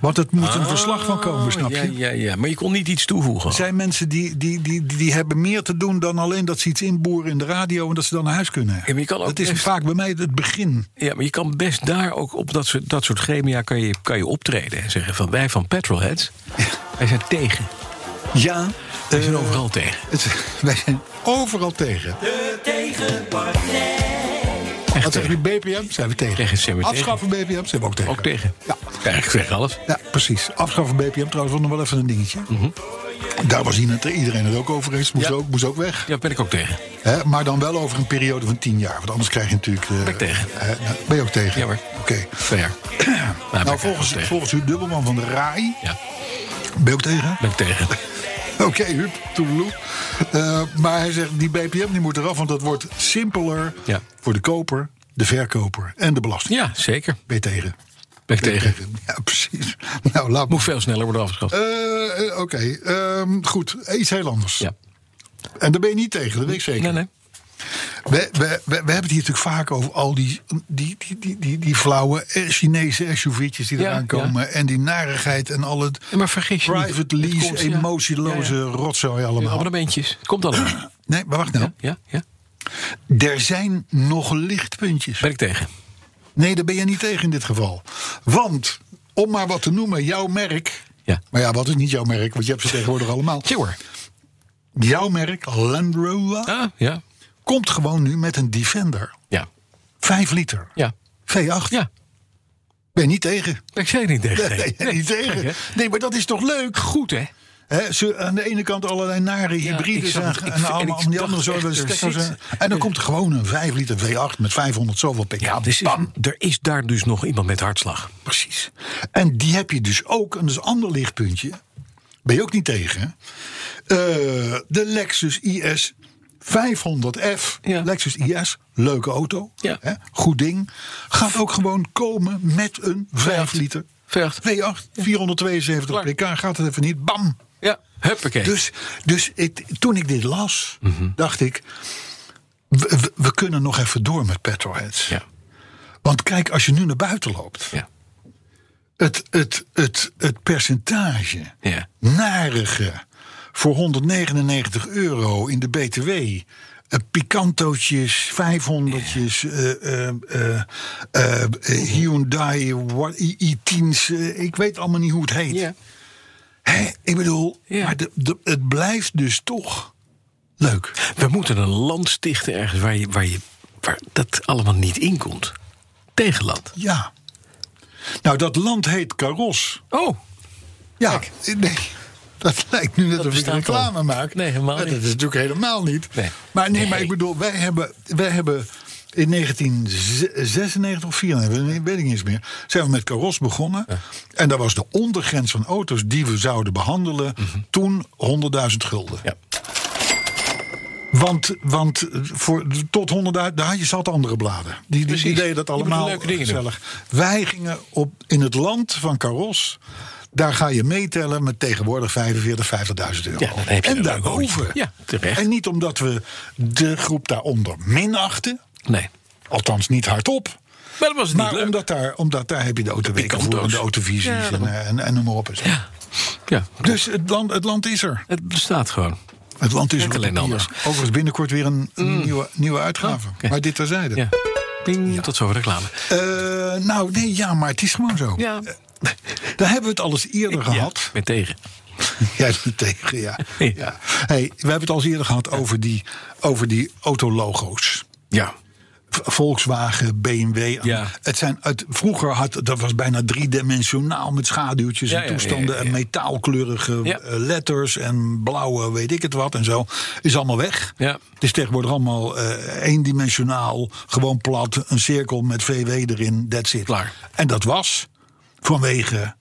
Speaker 2: Want het moet een verslag van komen,
Speaker 3: Oh,
Speaker 2: snap je?
Speaker 3: Ja, ja, ja. Maar je kon niet iets toevoegen.
Speaker 2: Er zijn mensen die, die, die, die, die hebben meer te doen dan alleen dat ze iets inboeren in de radio en dat ze dan naar huis kunnen.
Speaker 3: Ja, maar je kan ook
Speaker 2: dat is
Speaker 3: best-
Speaker 2: vaak bij mij het begin.
Speaker 3: Ja, maar je kan best daar ook op dat soort, dat soort gremia kan je, kan je optreden. En zeggen van wij van Petrolheads, wij zijn tegen.
Speaker 2: Ja,
Speaker 3: Wij
Speaker 2: Eh,
Speaker 3: zijn overal tegen.
Speaker 2: het, wij zijn overal tegen.
Speaker 3: Echt
Speaker 2: Wat
Speaker 3: tegen.
Speaker 2: zeggen die BPM? Zijn we tegen.
Speaker 3: Tegen, zijn we tegen.
Speaker 2: Afschaffen BPM? Zijn we ook tegen.
Speaker 3: Ook tegen.
Speaker 2: Ja.
Speaker 3: ik zeg alles.
Speaker 2: Ja, precies. Afschaffen BPM trouwens was nog wel even een dingetje. Daar was iemand- iedereen het ook over eens. Moest,
Speaker 3: Mhm. Ja.
Speaker 2: ook, moest ook weg.
Speaker 3: Ja, ben ik ook tegen.
Speaker 2: Hè, maar dan wel over een periode van tien jaar. Want anders krijg je natuurlijk... eh,
Speaker 3: Ben ik tegen.
Speaker 2: eh, nou, ben je ook tegen?
Speaker 3: Ja hoor.
Speaker 2: Oké.
Speaker 3: Twee jaar.
Speaker 2: Nou, volgens, volgens uw dubbelman van de RAI...
Speaker 3: Ja,
Speaker 2: Ben je ook tegen?
Speaker 3: ben ik tegen.
Speaker 2: Oké, hup, toedeloe. Eh, maar hij zegt, die BPM die moet eraf, want dat wordt simpeler
Speaker 3: Ja.
Speaker 2: voor de koper, de verkoper en de belasting.
Speaker 3: Ja, zeker.
Speaker 2: Ben je tegen?
Speaker 3: Ben ik
Speaker 2: Ben je
Speaker 3: tegen.
Speaker 2: Ja, precies. Nou, laat me.
Speaker 3: Moet veel sneller worden afgeschaft.
Speaker 2: Eh, eh, Oké, ehm, goed. Iets heel anders.
Speaker 3: Ja.
Speaker 2: En daar ben je niet tegen, dat weet ik zeker.
Speaker 3: Nee, nee.
Speaker 2: We, we, we, we hebben het hier natuurlijk vaak over al die, die, die, die, die, die flauwe eh, Chinese SUV'tjes die
Speaker 3: Ja,
Speaker 2: eraan komen. En die narigheid en al het
Speaker 3: Ja, maar vergis je niet.
Speaker 2: private
Speaker 3: Het
Speaker 2: lease,
Speaker 3: komt, ja.
Speaker 2: emotieloze
Speaker 3: Ja,
Speaker 2: rotzooi
Speaker 3: ja.
Speaker 2: allemaal.
Speaker 3: Abonnementjes. Komt allemaal.
Speaker 2: Nee, maar wacht nou.
Speaker 3: Ja, ja, ja.
Speaker 2: Er zijn nog lichtpuntjes.
Speaker 3: Ben ik tegen.
Speaker 2: Nee, daar ben je niet tegen in dit geval. Want, om maar wat te noemen, jouw merk.
Speaker 3: Ja.
Speaker 2: Maar ja, wat is niet jouw merk? Want je hebt ze tegenwoordig allemaal.
Speaker 3: Sure.
Speaker 2: Jouw merk, Land Rover,
Speaker 3: Ah, ja.
Speaker 2: komt gewoon nu met een Defender.
Speaker 3: Ja.
Speaker 2: 5 liter.
Speaker 3: Ja.
Speaker 2: V8.
Speaker 3: Ja.
Speaker 2: Ben je niet tegen?
Speaker 3: Ben ik zeker niet tegen.
Speaker 2: Nee, ben je niet tegen.
Speaker 3: gek,
Speaker 2: Nee, maar dat is toch leuk?
Speaker 3: Goed, hè?
Speaker 2: Hè, ze, aan de ene kant allerlei nare hybrides
Speaker 3: ik zag
Speaker 2: en,
Speaker 3: het. Ik
Speaker 2: en
Speaker 3: vind- en
Speaker 2: allemaal
Speaker 3: ik
Speaker 2: van die
Speaker 3: dacht
Speaker 2: andere
Speaker 3: echt,
Speaker 2: soorten
Speaker 3: er
Speaker 2: stekkers.
Speaker 3: zit-
Speaker 2: En dan komt er gewoon een 5 liter V8 met 500 zoveel pk.
Speaker 3: Ja, dus is, er is daar dus nog iemand met hartslag.
Speaker 2: Precies. En die heb je dus ook, en dat is een ander lichtpuntje. Ben je ook niet tegen? hè? Eh, de Lexus IS 500F.
Speaker 3: Ja.
Speaker 2: Lexus IS, leuke auto.
Speaker 3: Ja.
Speaker 2: Hè, goed ding. Gaat ook gewoon komen met een 5 liter.
Speaker 3: Vergt.
Speaker 2: V8, 472
Speaker 3: Klaar.
Speaker 2: pk, gaat het even niet. Bam!
Speaker 3: Ja. Huppakee.
Speaker 2: Dus, dus ik, toen ik dit las,
Speaker 3: Mhm.
Speaker 2: dacht ik... We, we- we kunnen nog even door met petrolheads.
Speaker 3: Ja.
Speaker 2: Want kijk, als je nu naar buiten loopt
Speaker 3: Ja.
Speaker 2: het, het, het, het percentage
Speaker 3: Ja.
Speaker 2: narige voor 199 euro in de BTW. eh, picantootjes, 500'tjes, eh, eh, eh, eh, eh, Hyundai, wa- i- i10's, eh, ik weet allemaal niet hoe het heet.
Speaker 3: Ja.
Speaker 2: Hè, ik bedoel,
Speaker 3: Ja.
Speaker 2: maar de, de- het blijft dus toch leuk.
Speaker 3: We moeten een land stichten ergens waar, je, waar, je, waar dat allemaal niet in komt. Tegenland.
Speaker 2: Ja. Nou, dat land heet Karos.
Speaker 3: Oh.
Speaker 2: Ja, nee. Dat lijkt nu net alsof ik
Speaker 3: bestaat
Speaker 2: reclame
Speaker 3: al.
Speaker 2: maak.
Speaker 3: Nee, helemaal
Speaker 2: Maar Dat
Speaker 3: niet.
Speaker 2: is natuurlijk helemaal niet.
Speaker 3: Nee.
Speaker 2: Maar nee, maar
Speaker 3: Nee.
Speaker 2: ik bedoel, wij hebben, wij hebben in 1996 of 94, weet ik niet eens meer, zijn we met Caros begonnen. En dat was de ondergrens van auto's die we zouden behandelen toen 100.000 gulden.
Speaker 3: Mhm. Ja.
Speaker 2: Want, want eh, voor, tot 100.000, daar had je zat andere bladen. Die, die, die
Speaker 3: Precies.
Speaker 2: deden dat
Speaker 3: Je moet
Speaker 2: allemaal
Speaker 3: leuke dingen
Speaker 2: gezellig. Wij gingen op, in het land van Caros. Daar ga je meetellen met tegenwoordig 45, 50.000 euro.
Speaker 3: Ja, dan heb je
Speaker 2: en
Speaker 3: een leuk
Speaker 2: daarboven.
Speaker 3: hoortje. Ja, terecht.
Speaker 2: En niet omdat we de groep daaronder minachten.
Speaker 3: Nee.
Speaker 2: Althans niet hardop.
Speaker 3: Maar dat was het niet
Speaker 2: Maar
Speaker 3: leuk.
Speaker 2: omdat daar, omdat daar heb je de autoweken
Speaker 3: pikanto's.
Speaker 2: voor en de autovisies en, eh, en, en noem maar op. en zo.
Speaker 3: Ja. Ja.
Speaker 2: Dus het land, het land is er.
Speaker 3: Het bestaat gewoon.
Speaker 2: Het land is
Speaker 3: Net
Speaker 2: er.
Speaker 3: alleen
Speaker 2: op papier.
Speaker 3: anders.
Speaker 2: Overigens binnenkort weer een nieuwe, nieuwe uitgave.
Speaker 3: Oh, oké.
Speaker 2: Maar dit terzijde.
Speaker 3: Ja. Ding. Tot zover reclame.
Speaker 2: Eh, nou, nee, ja, maar het is gewoon zo. Eh,
Speaker 3: Ja.
Speaker 2: Daar hebben we het al eens eerder
Speaker 3: Ja,
Speaker 2: gehad.
Speaker 3: ik ben tegen.
Speaker 2: Jij bent tegen, ja.
Speaker 3: Ja.
Speaker 2: ja. Hey, we hebben het al eens eerder gehad over die, over die autologo's.
Speaker 3: Ja.
Speaker 2: V- Volkswagen, BMW.
Speaker 3: Ja.
Speaker 2: Het zijn, het, vroeger had, dat was bijna driedimensionaal met schaduwtjes
Speaker 3: Ja,
Speaker 2: en
Speaker 3: ja,
Speaker 2: toestanden.
Speaker 3: ja, ja,
Speaker 2: En
Speaker 3: ja.
Speaker 2: metaalkleurige
Speaker 3: Ja.
Speaker 2: eh, letters en blauwe weet ik het wat en zo. Is allemaal weg.
Speaker 3: Ja.
Speaker 2: Het is tegenwoordig allemaal eh, eendimensionaal, gewoon plat, een cirkel met VW erin, that's it.
Speaker 3: Klaar.
Speaker 2: En dat was vanwege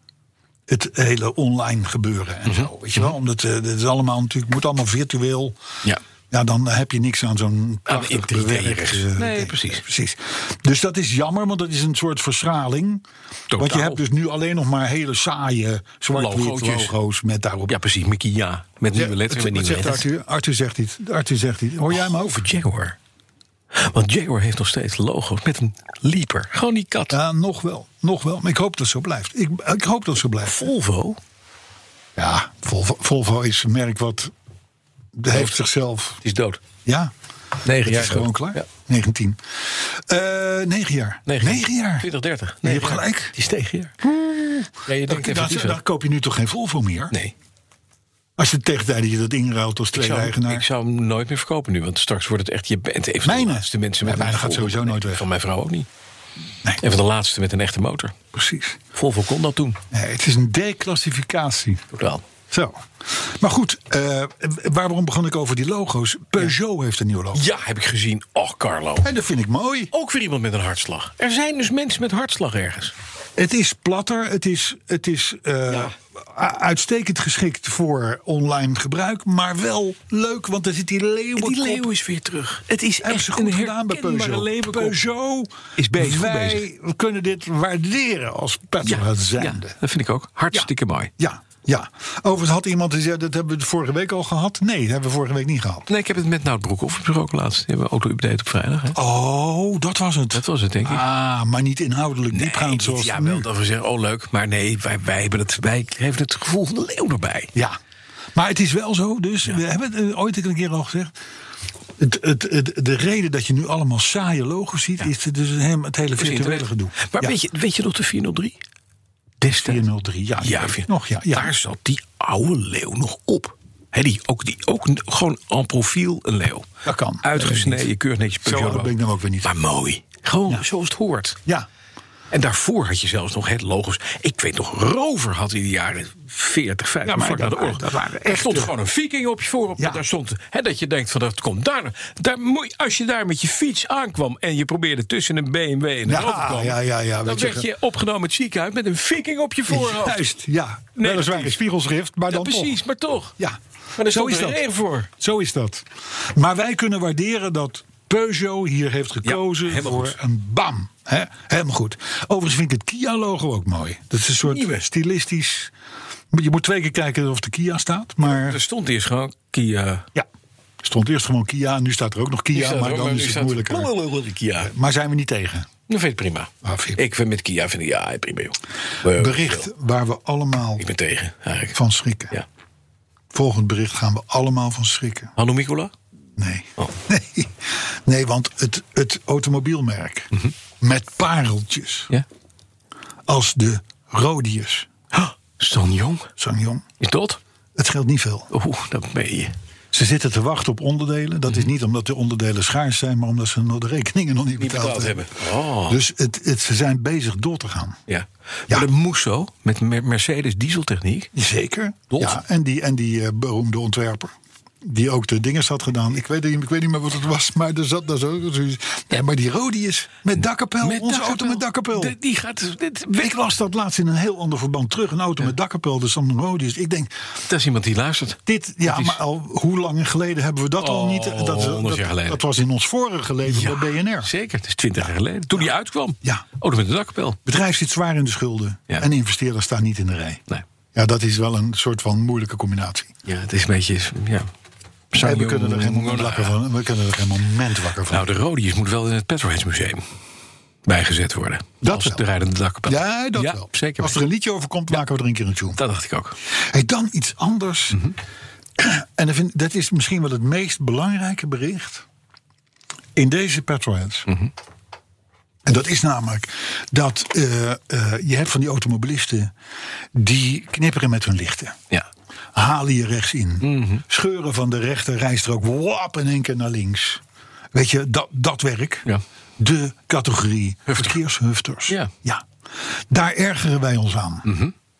Speaker 2: het hele online gebeuren
Speaker 3: Mhm.
Speaker 2: en zo. Weet je wel? Omdat eh, dit is allemaal natuurlijk, moet allemaal virtueel.
Speaker 3: Ja.
Speaker 2: Ja, dan heb je niks aan zo'n prachtig
Speaker 3: interieur.
Speaker 2: bewerkt, eh,
Speaker 3: Nee,
Speaker 2: ding.
Speaker 3: precies.
Speaker 2: precies. Dus dat is jammer, want dat is een soort verstraling.
Speaker 3: Totaal.
Speaker 2: Want je hebt dus nu alleen nog maar hele saaie zwart-wit
Speaker 3: Logootjes.
Speaker 2: logo's met daarop.
Speaker 3: Ja, precies. Mickey, ja. Met nieuwe letters. Met
Speaker 2: Wat
Speaker 3: nieuwe
Speaker 2: zegt
Speaker 3: letters. Oh,
Speaker 2: Arthur? Arthur zegt iets. Arthur zegt iets. Hoor jij hem over?
Speaker 3: Jaguar. Want Jaguar heeft nog steeds logo's met een lieper. Gewoon die kat.
Speaker 2: Ja, nog wel. Nog wel. Maar ik hoop dat het zo blijft. Ik, ik hoop dat het zo blijft.
Speaker 3: Volvo.
Speaker 2: Ja, Volvo, Volvo is een merk wat heeft zichzelf.
Speaker 3: Die is dood.
Speaker 2: Ja,
Speaker 3: Negen
Speaker 2: het
Speaker 3: jaar
Speaker 2: is gewoon
Speaker 3: dood.
Speaker 2: klaar.
Speaker 3: Ja.
Speaker 2: 19. Eh 9 jaar.
Speaker 3: 9
Speaker 2: Negen jaar.
Speaker 3: 2030.
Speaker 2: Je hebt gelijk.
Speaker 3: Die steeg hier. Ja, je denkt
Speaker 2: Dat,
Speaker 3: even
Speaker 2: dat,
Speaker 3: die
Speaker 2: daar koop je nu toch geen Volvo meer?
Speaker 3: Nee.
Speaker 2: Als je tegen tijd dat je dat inruilt als
Speaker 3: Ik
Speaker 2: tweede
Speaker 3: zou,
Speaker 2: eigenaar.
Speaker 3: ik zou hem nooit meer verkopen nu. Want straks wordt het echt... Je bent een van
Speaker 2: Mijne.
Speaker 3: de laatste mensen
Speaker 2: Ja,
Speaker 3: met een
Speaker 2: mijne
Speaker 3: echte
Speaker 2: gaat
Speaker 3: Volvo.
Speaker 2: sowieso nooit
Speaker 3: Nee,
Speaker 2: weg.
Speaker 3: Van mijn vrouw ook niet.
Speaker 2: Nee.
Speaker 3: En van de laatste met een echte motor.
Speaker 2: Precies.
Speaker 3: Volvo kon dat toen.
Speaker 2: Nee, het is een declassificatie.
Speaker 3: Totaal.
Speaker 2: Zo. Maar goed, eh, waarom begon ik over die logo's? Peugeot heeft een nieuw logo.
Speaker 3: Ja, heb ik gezien. Oh, Carlo.
Speaker 2: En dat vind ik mooi.
Speaker 3: Ook weer iemand met een hartslag. Er zijn dus mensen met hartslag ergens.
Speaker 2: Het is platter, het is, het is eh, u- uitstekend geschikt voor online gebruik, maar wel leuk, want er zit die leeuwenkop.
Speaker 3: Die leeuw is weer terug. Het is
Speaker 2: Hebben ze
Speaker 3: echt
Speaker 2: goed
Speaker 3: een
Speaker 2: gedaan bij
Speaker 3: herkenbare
Speaker 2: Peugeot.
Speaker 3: leeuwenkop.
Speaker 2: Peugeot
Speaker 3: Is bezig, goed
Speaker 2: Wij kunnen dit waarderen als Petra
Speaker 3: ja,
Speaker 2: zijnde.
Speaker 3: dat vind ik ook. Hartstikke mooi.
Speaker 2: Ja, ja. Overigens had iemand die zei, dat hebben we vorige week al gehad. Nee, dat hebben we vorige week niet gehad.
Speaker 3: Nee, ik heb het met Nout Broekhoff besproken laatst. Die hebben een auto-update op vrijdag. Hè?
Speaker 2: Oh, dat was het.
Speaker 3: Dat was het, denk ik.
Speaker 2: Ah, maar niet inhoudelijk diepgaand
Speaker 3: niet-
Speaker 2: zoals
Speaker 3: ja,
Speaker 2: nu.
Speaker 3: wel dat we zeggen, oh leuk. Maar nee, wij, wij, hebben, het, wij hebben het gevoel van de leeuw erbij.
Speaker 2: Ja, maar het is wel zo. Dus we hebben het eh, ooit een keer al gezegd. Het, het, het- de reden dat je nu allemaal saaie logos ziet, is dus hem- het hele virtuele
Speaker 3: Internet.
Speaker 2: gedoe.
Speaker 3: Maar
Speaker 2: ja,
Speaker 3: weet, je, weet je nog de 403? Destijds.
Speaker 2: 403, ja, die
Speaker 3: Ja,
Speaker 2: Ah, weet ik
Speaker 3: vind-
Speaker 2: nog, ja, ja.
Speaker 3: Daar zat die oude leeuw nog op. Hè, die, ook, die, ook n- gewoon en profiel een leeuw.
Speaker 2: Dat kan. Dat weet ik
Speaker 3: Uitgesneden,
Speaker 2: niet.
Speaker 3: keurig netjes
Speaker 2: Zo
Speaker 3: Peugeot.
Speaker 2: oud ben ik nou ook weer niet.
Speaker 3: Maar mooi. Gewoon zoals het hoort.
Speaker 2: ja.
Speaker 3: En daarvoor had je zelfs nog het logo's. Ik weet nog, Rover had in de jaren 40, 50,
Speaker 2: Ja, maar
Speaker 3: vlak na
Speaker 2: dat
Speaker 3: de
Speaker 2: waren-
Speaker 3: oorlog.
Speaker 2: dat waren
Speaker 3: er
Speaker 2: echte-
Speaker 3: stond gewoon een viking op je voorop.
Speaker 2: Ja.
Speaker 3: Daar stond, hè, dat je denkt, van dat komt daar, daar moet je- Als je daar met je fiets aankwam en je probeerde tussen een BMW en een
Speaker 2: Ja,
Speaker 3: Rover te komen...
Speaker 2: ja, ja, ja,
Speaker 3: dan
Speaker 2: weet je,
Speaker 3: werd je opgenomen het ziekenhuis met een viking op je voorhoofd.
Speaker 2: Juist, ja.
Speaker 3: Nee,
Speaker 2: Weliswaar
Speaker 3: dat-
Speaker 2: een spiegelschrift, maar
Speaker 3: Ja,
Speaker 2: dan
Speaker 3: precies,
Speaker 2: toch.
Speaker 3: maar toch.
Speaker 2: Ja,
Speaker 3: Maar daar
Speaker 2: zo
Speaker 3: stond
Speaker 2: is
Speaker 3: er een
Speaker 2: dat.
Speaker 3: reden voor.
Speaker 2: Zo is dat. Maar wij kunnen waarderen dat Peugeot hier heeft gekozen
Speaker 3: helemaal
Speaker 2: voor
Speaker 3: goed.
Speaker 2: een BAM. hè? helemaal goed. Overigens vind ik het Kia-logo ook mooi. Dat is een soort
Speaker 3: Nieuwe.
Speaker 2: stilistisch... Je moet twee keer kijken of de Kia staat, maar...
Speaker 3: Er stond eerst gewoon Kia.
Speaker 2: Ja, er stond eerst gewoon Kia, nu staat er ook nog
Speaker 3: Nu
Speaker 2: Kia,
Speaker 3: staat er
Speaker 2: maar
Speaker 3: ook,
Speaker 2: dan
Speaker 3: nu
Speaker 2: is het
Speaker 3: staat-
Speaker 2: moeilijker.
Speaker 3: Blablabla, Kia. Nou,
Speaker 2: Maar zijn we niet tegen.
Speaker 3: vind ik prima.
Speaker 2: Ah, vind je-
Speaker 3: Ik vind met Kia vind ik, ja, prima joh. Eh,
Speaker 2: Bericht waar we allemaal
Speaker 3: Ik ben tegen, eigenlijk.
Speaker 2: van schrikken.
Speaker 3: Ja.
Speaker 2: Volgend bericht gaan we allemaal van schrikken.
Speaker 3: Hanno Mikula?
Speaker 2: Nee. Nee. nee, want het, het automobielmerk met pareltjes
Speaker 3: Ja.
Speaker 2: als de Rodius,
Speaker 3: Ah, Stan Jong?
Speaker 2: Sangyong,
Speaker 3: Is dat?
Speaker 2: het scheelt niet veel.
Speaker 3: Oeh, dat ben je.
Speaker 2: Ze zitten te wachten op onderdelen. Dat is niet omdat de onderdelen schaars zijn, maar omdat ze nog de rekeningen nog niet
Speaker 3: Niet
Speaker 2: betaald,
Speaker 3: betaald hebben. Oh.
Speaker 2: Dus het, het, ze zijn bezig door te gaan.
Speaker 3: Ja.
Speaker 2: Ja.
Speaker 3: Maar de Musso met Mer- Mercedes dieseltechniek.
Speaker 2: Zeker.
Speaker 3: Dot.
Speaker 2: Ja, en die, en die eh, beroemde ontwerper. Die ook de dingen had gedaan. Ik weet, niet- ik weet niet meer wat het was, maar er zat daar zo. zoiets. Nee, maar die Rodius met dakkapel.
Speaker 3: Met
Speaker 2: Nou, onze auto
Speaker 3: dakkapel.
Speaker 2: met dakkapel.
Speaker 3: De- die gaat... Dit,
Speaker 2: Ik las dat laatst in een heel ander verband terug. Een auto met dakkapel, dus dan een Rodius. Ik denk,
Speaker 3: dat is iemand die luistert.
Speaker 2: dit, ja,
Speaker 3: is-
Speaker 2: maar al, hoe lang geleden hebben we dat al
Speaker 3: Oh,
Speaker 2: niet? Dat, dat,
Speaker 3: 100 jaar geleden.
Speaker 2: dat was in ons vorige leven bij BNR. Het
Speaker 3: Zeker, het is twintig jaar geleden. Toen die uitkwam.
Speaker 2: Ja.
Speaker 3: Oh, dan met de dakkapel.
Speaker 2: bedrijf zit zwaar in de schulden.
Speaker 3: Ja.
Speaker 2: En investeerders staan niet in de rij.
Speaker 3: Nee.
Speaker 2: Ja, dat is wel een soort van moeilijke combinatie.
Speaker 3: Ja, het is een beetje... Ja.
Speaker 2: En
Speaker 3: Stan
Speaker 2: we kunnen er
Speaker 3: Jong-
Speaker 2: geen moment wakker van. We kunnen er geen moment wakker van.
Speaker 3: Nou, de Rodius moet wel in het Petrolheads Museum bijgezet worden.
Speaker 2: Dat
Speaker 3: Als
Speaker 2: wel.
Speaker 3: de rijdende dakkapel.
Speaker 2: Ja, dat wel.
Speaker 3: zeker.
Speaker 2: Als er een liedje over komt, maken we er een keer een tune.
Speaker 3: Dat dacht ik ook.
Speaker 2: Hey, dan iets anders. En dat, vind- dat is misschien wel het meest belangrijke bericht in deze Petrolheads. En dat is namelijk dat eh, eh, je hebt van die automobilisten die knipperen met hun lichten.
Speaker 3: Ja.
Speaker 2: Halen je rechts in.
Speaker 3: Mhm.
Speaker 2: Scheuren van de rechter rijstrook. Wap in één keer naar links. Weet je, dat, dat werk.
Speaker 3: Ja.
Speaker 2: De categorie verkeershufters.
Speaker 3: Ja. Mhm.
Speaker 2: Daar ergeren wij ons aan.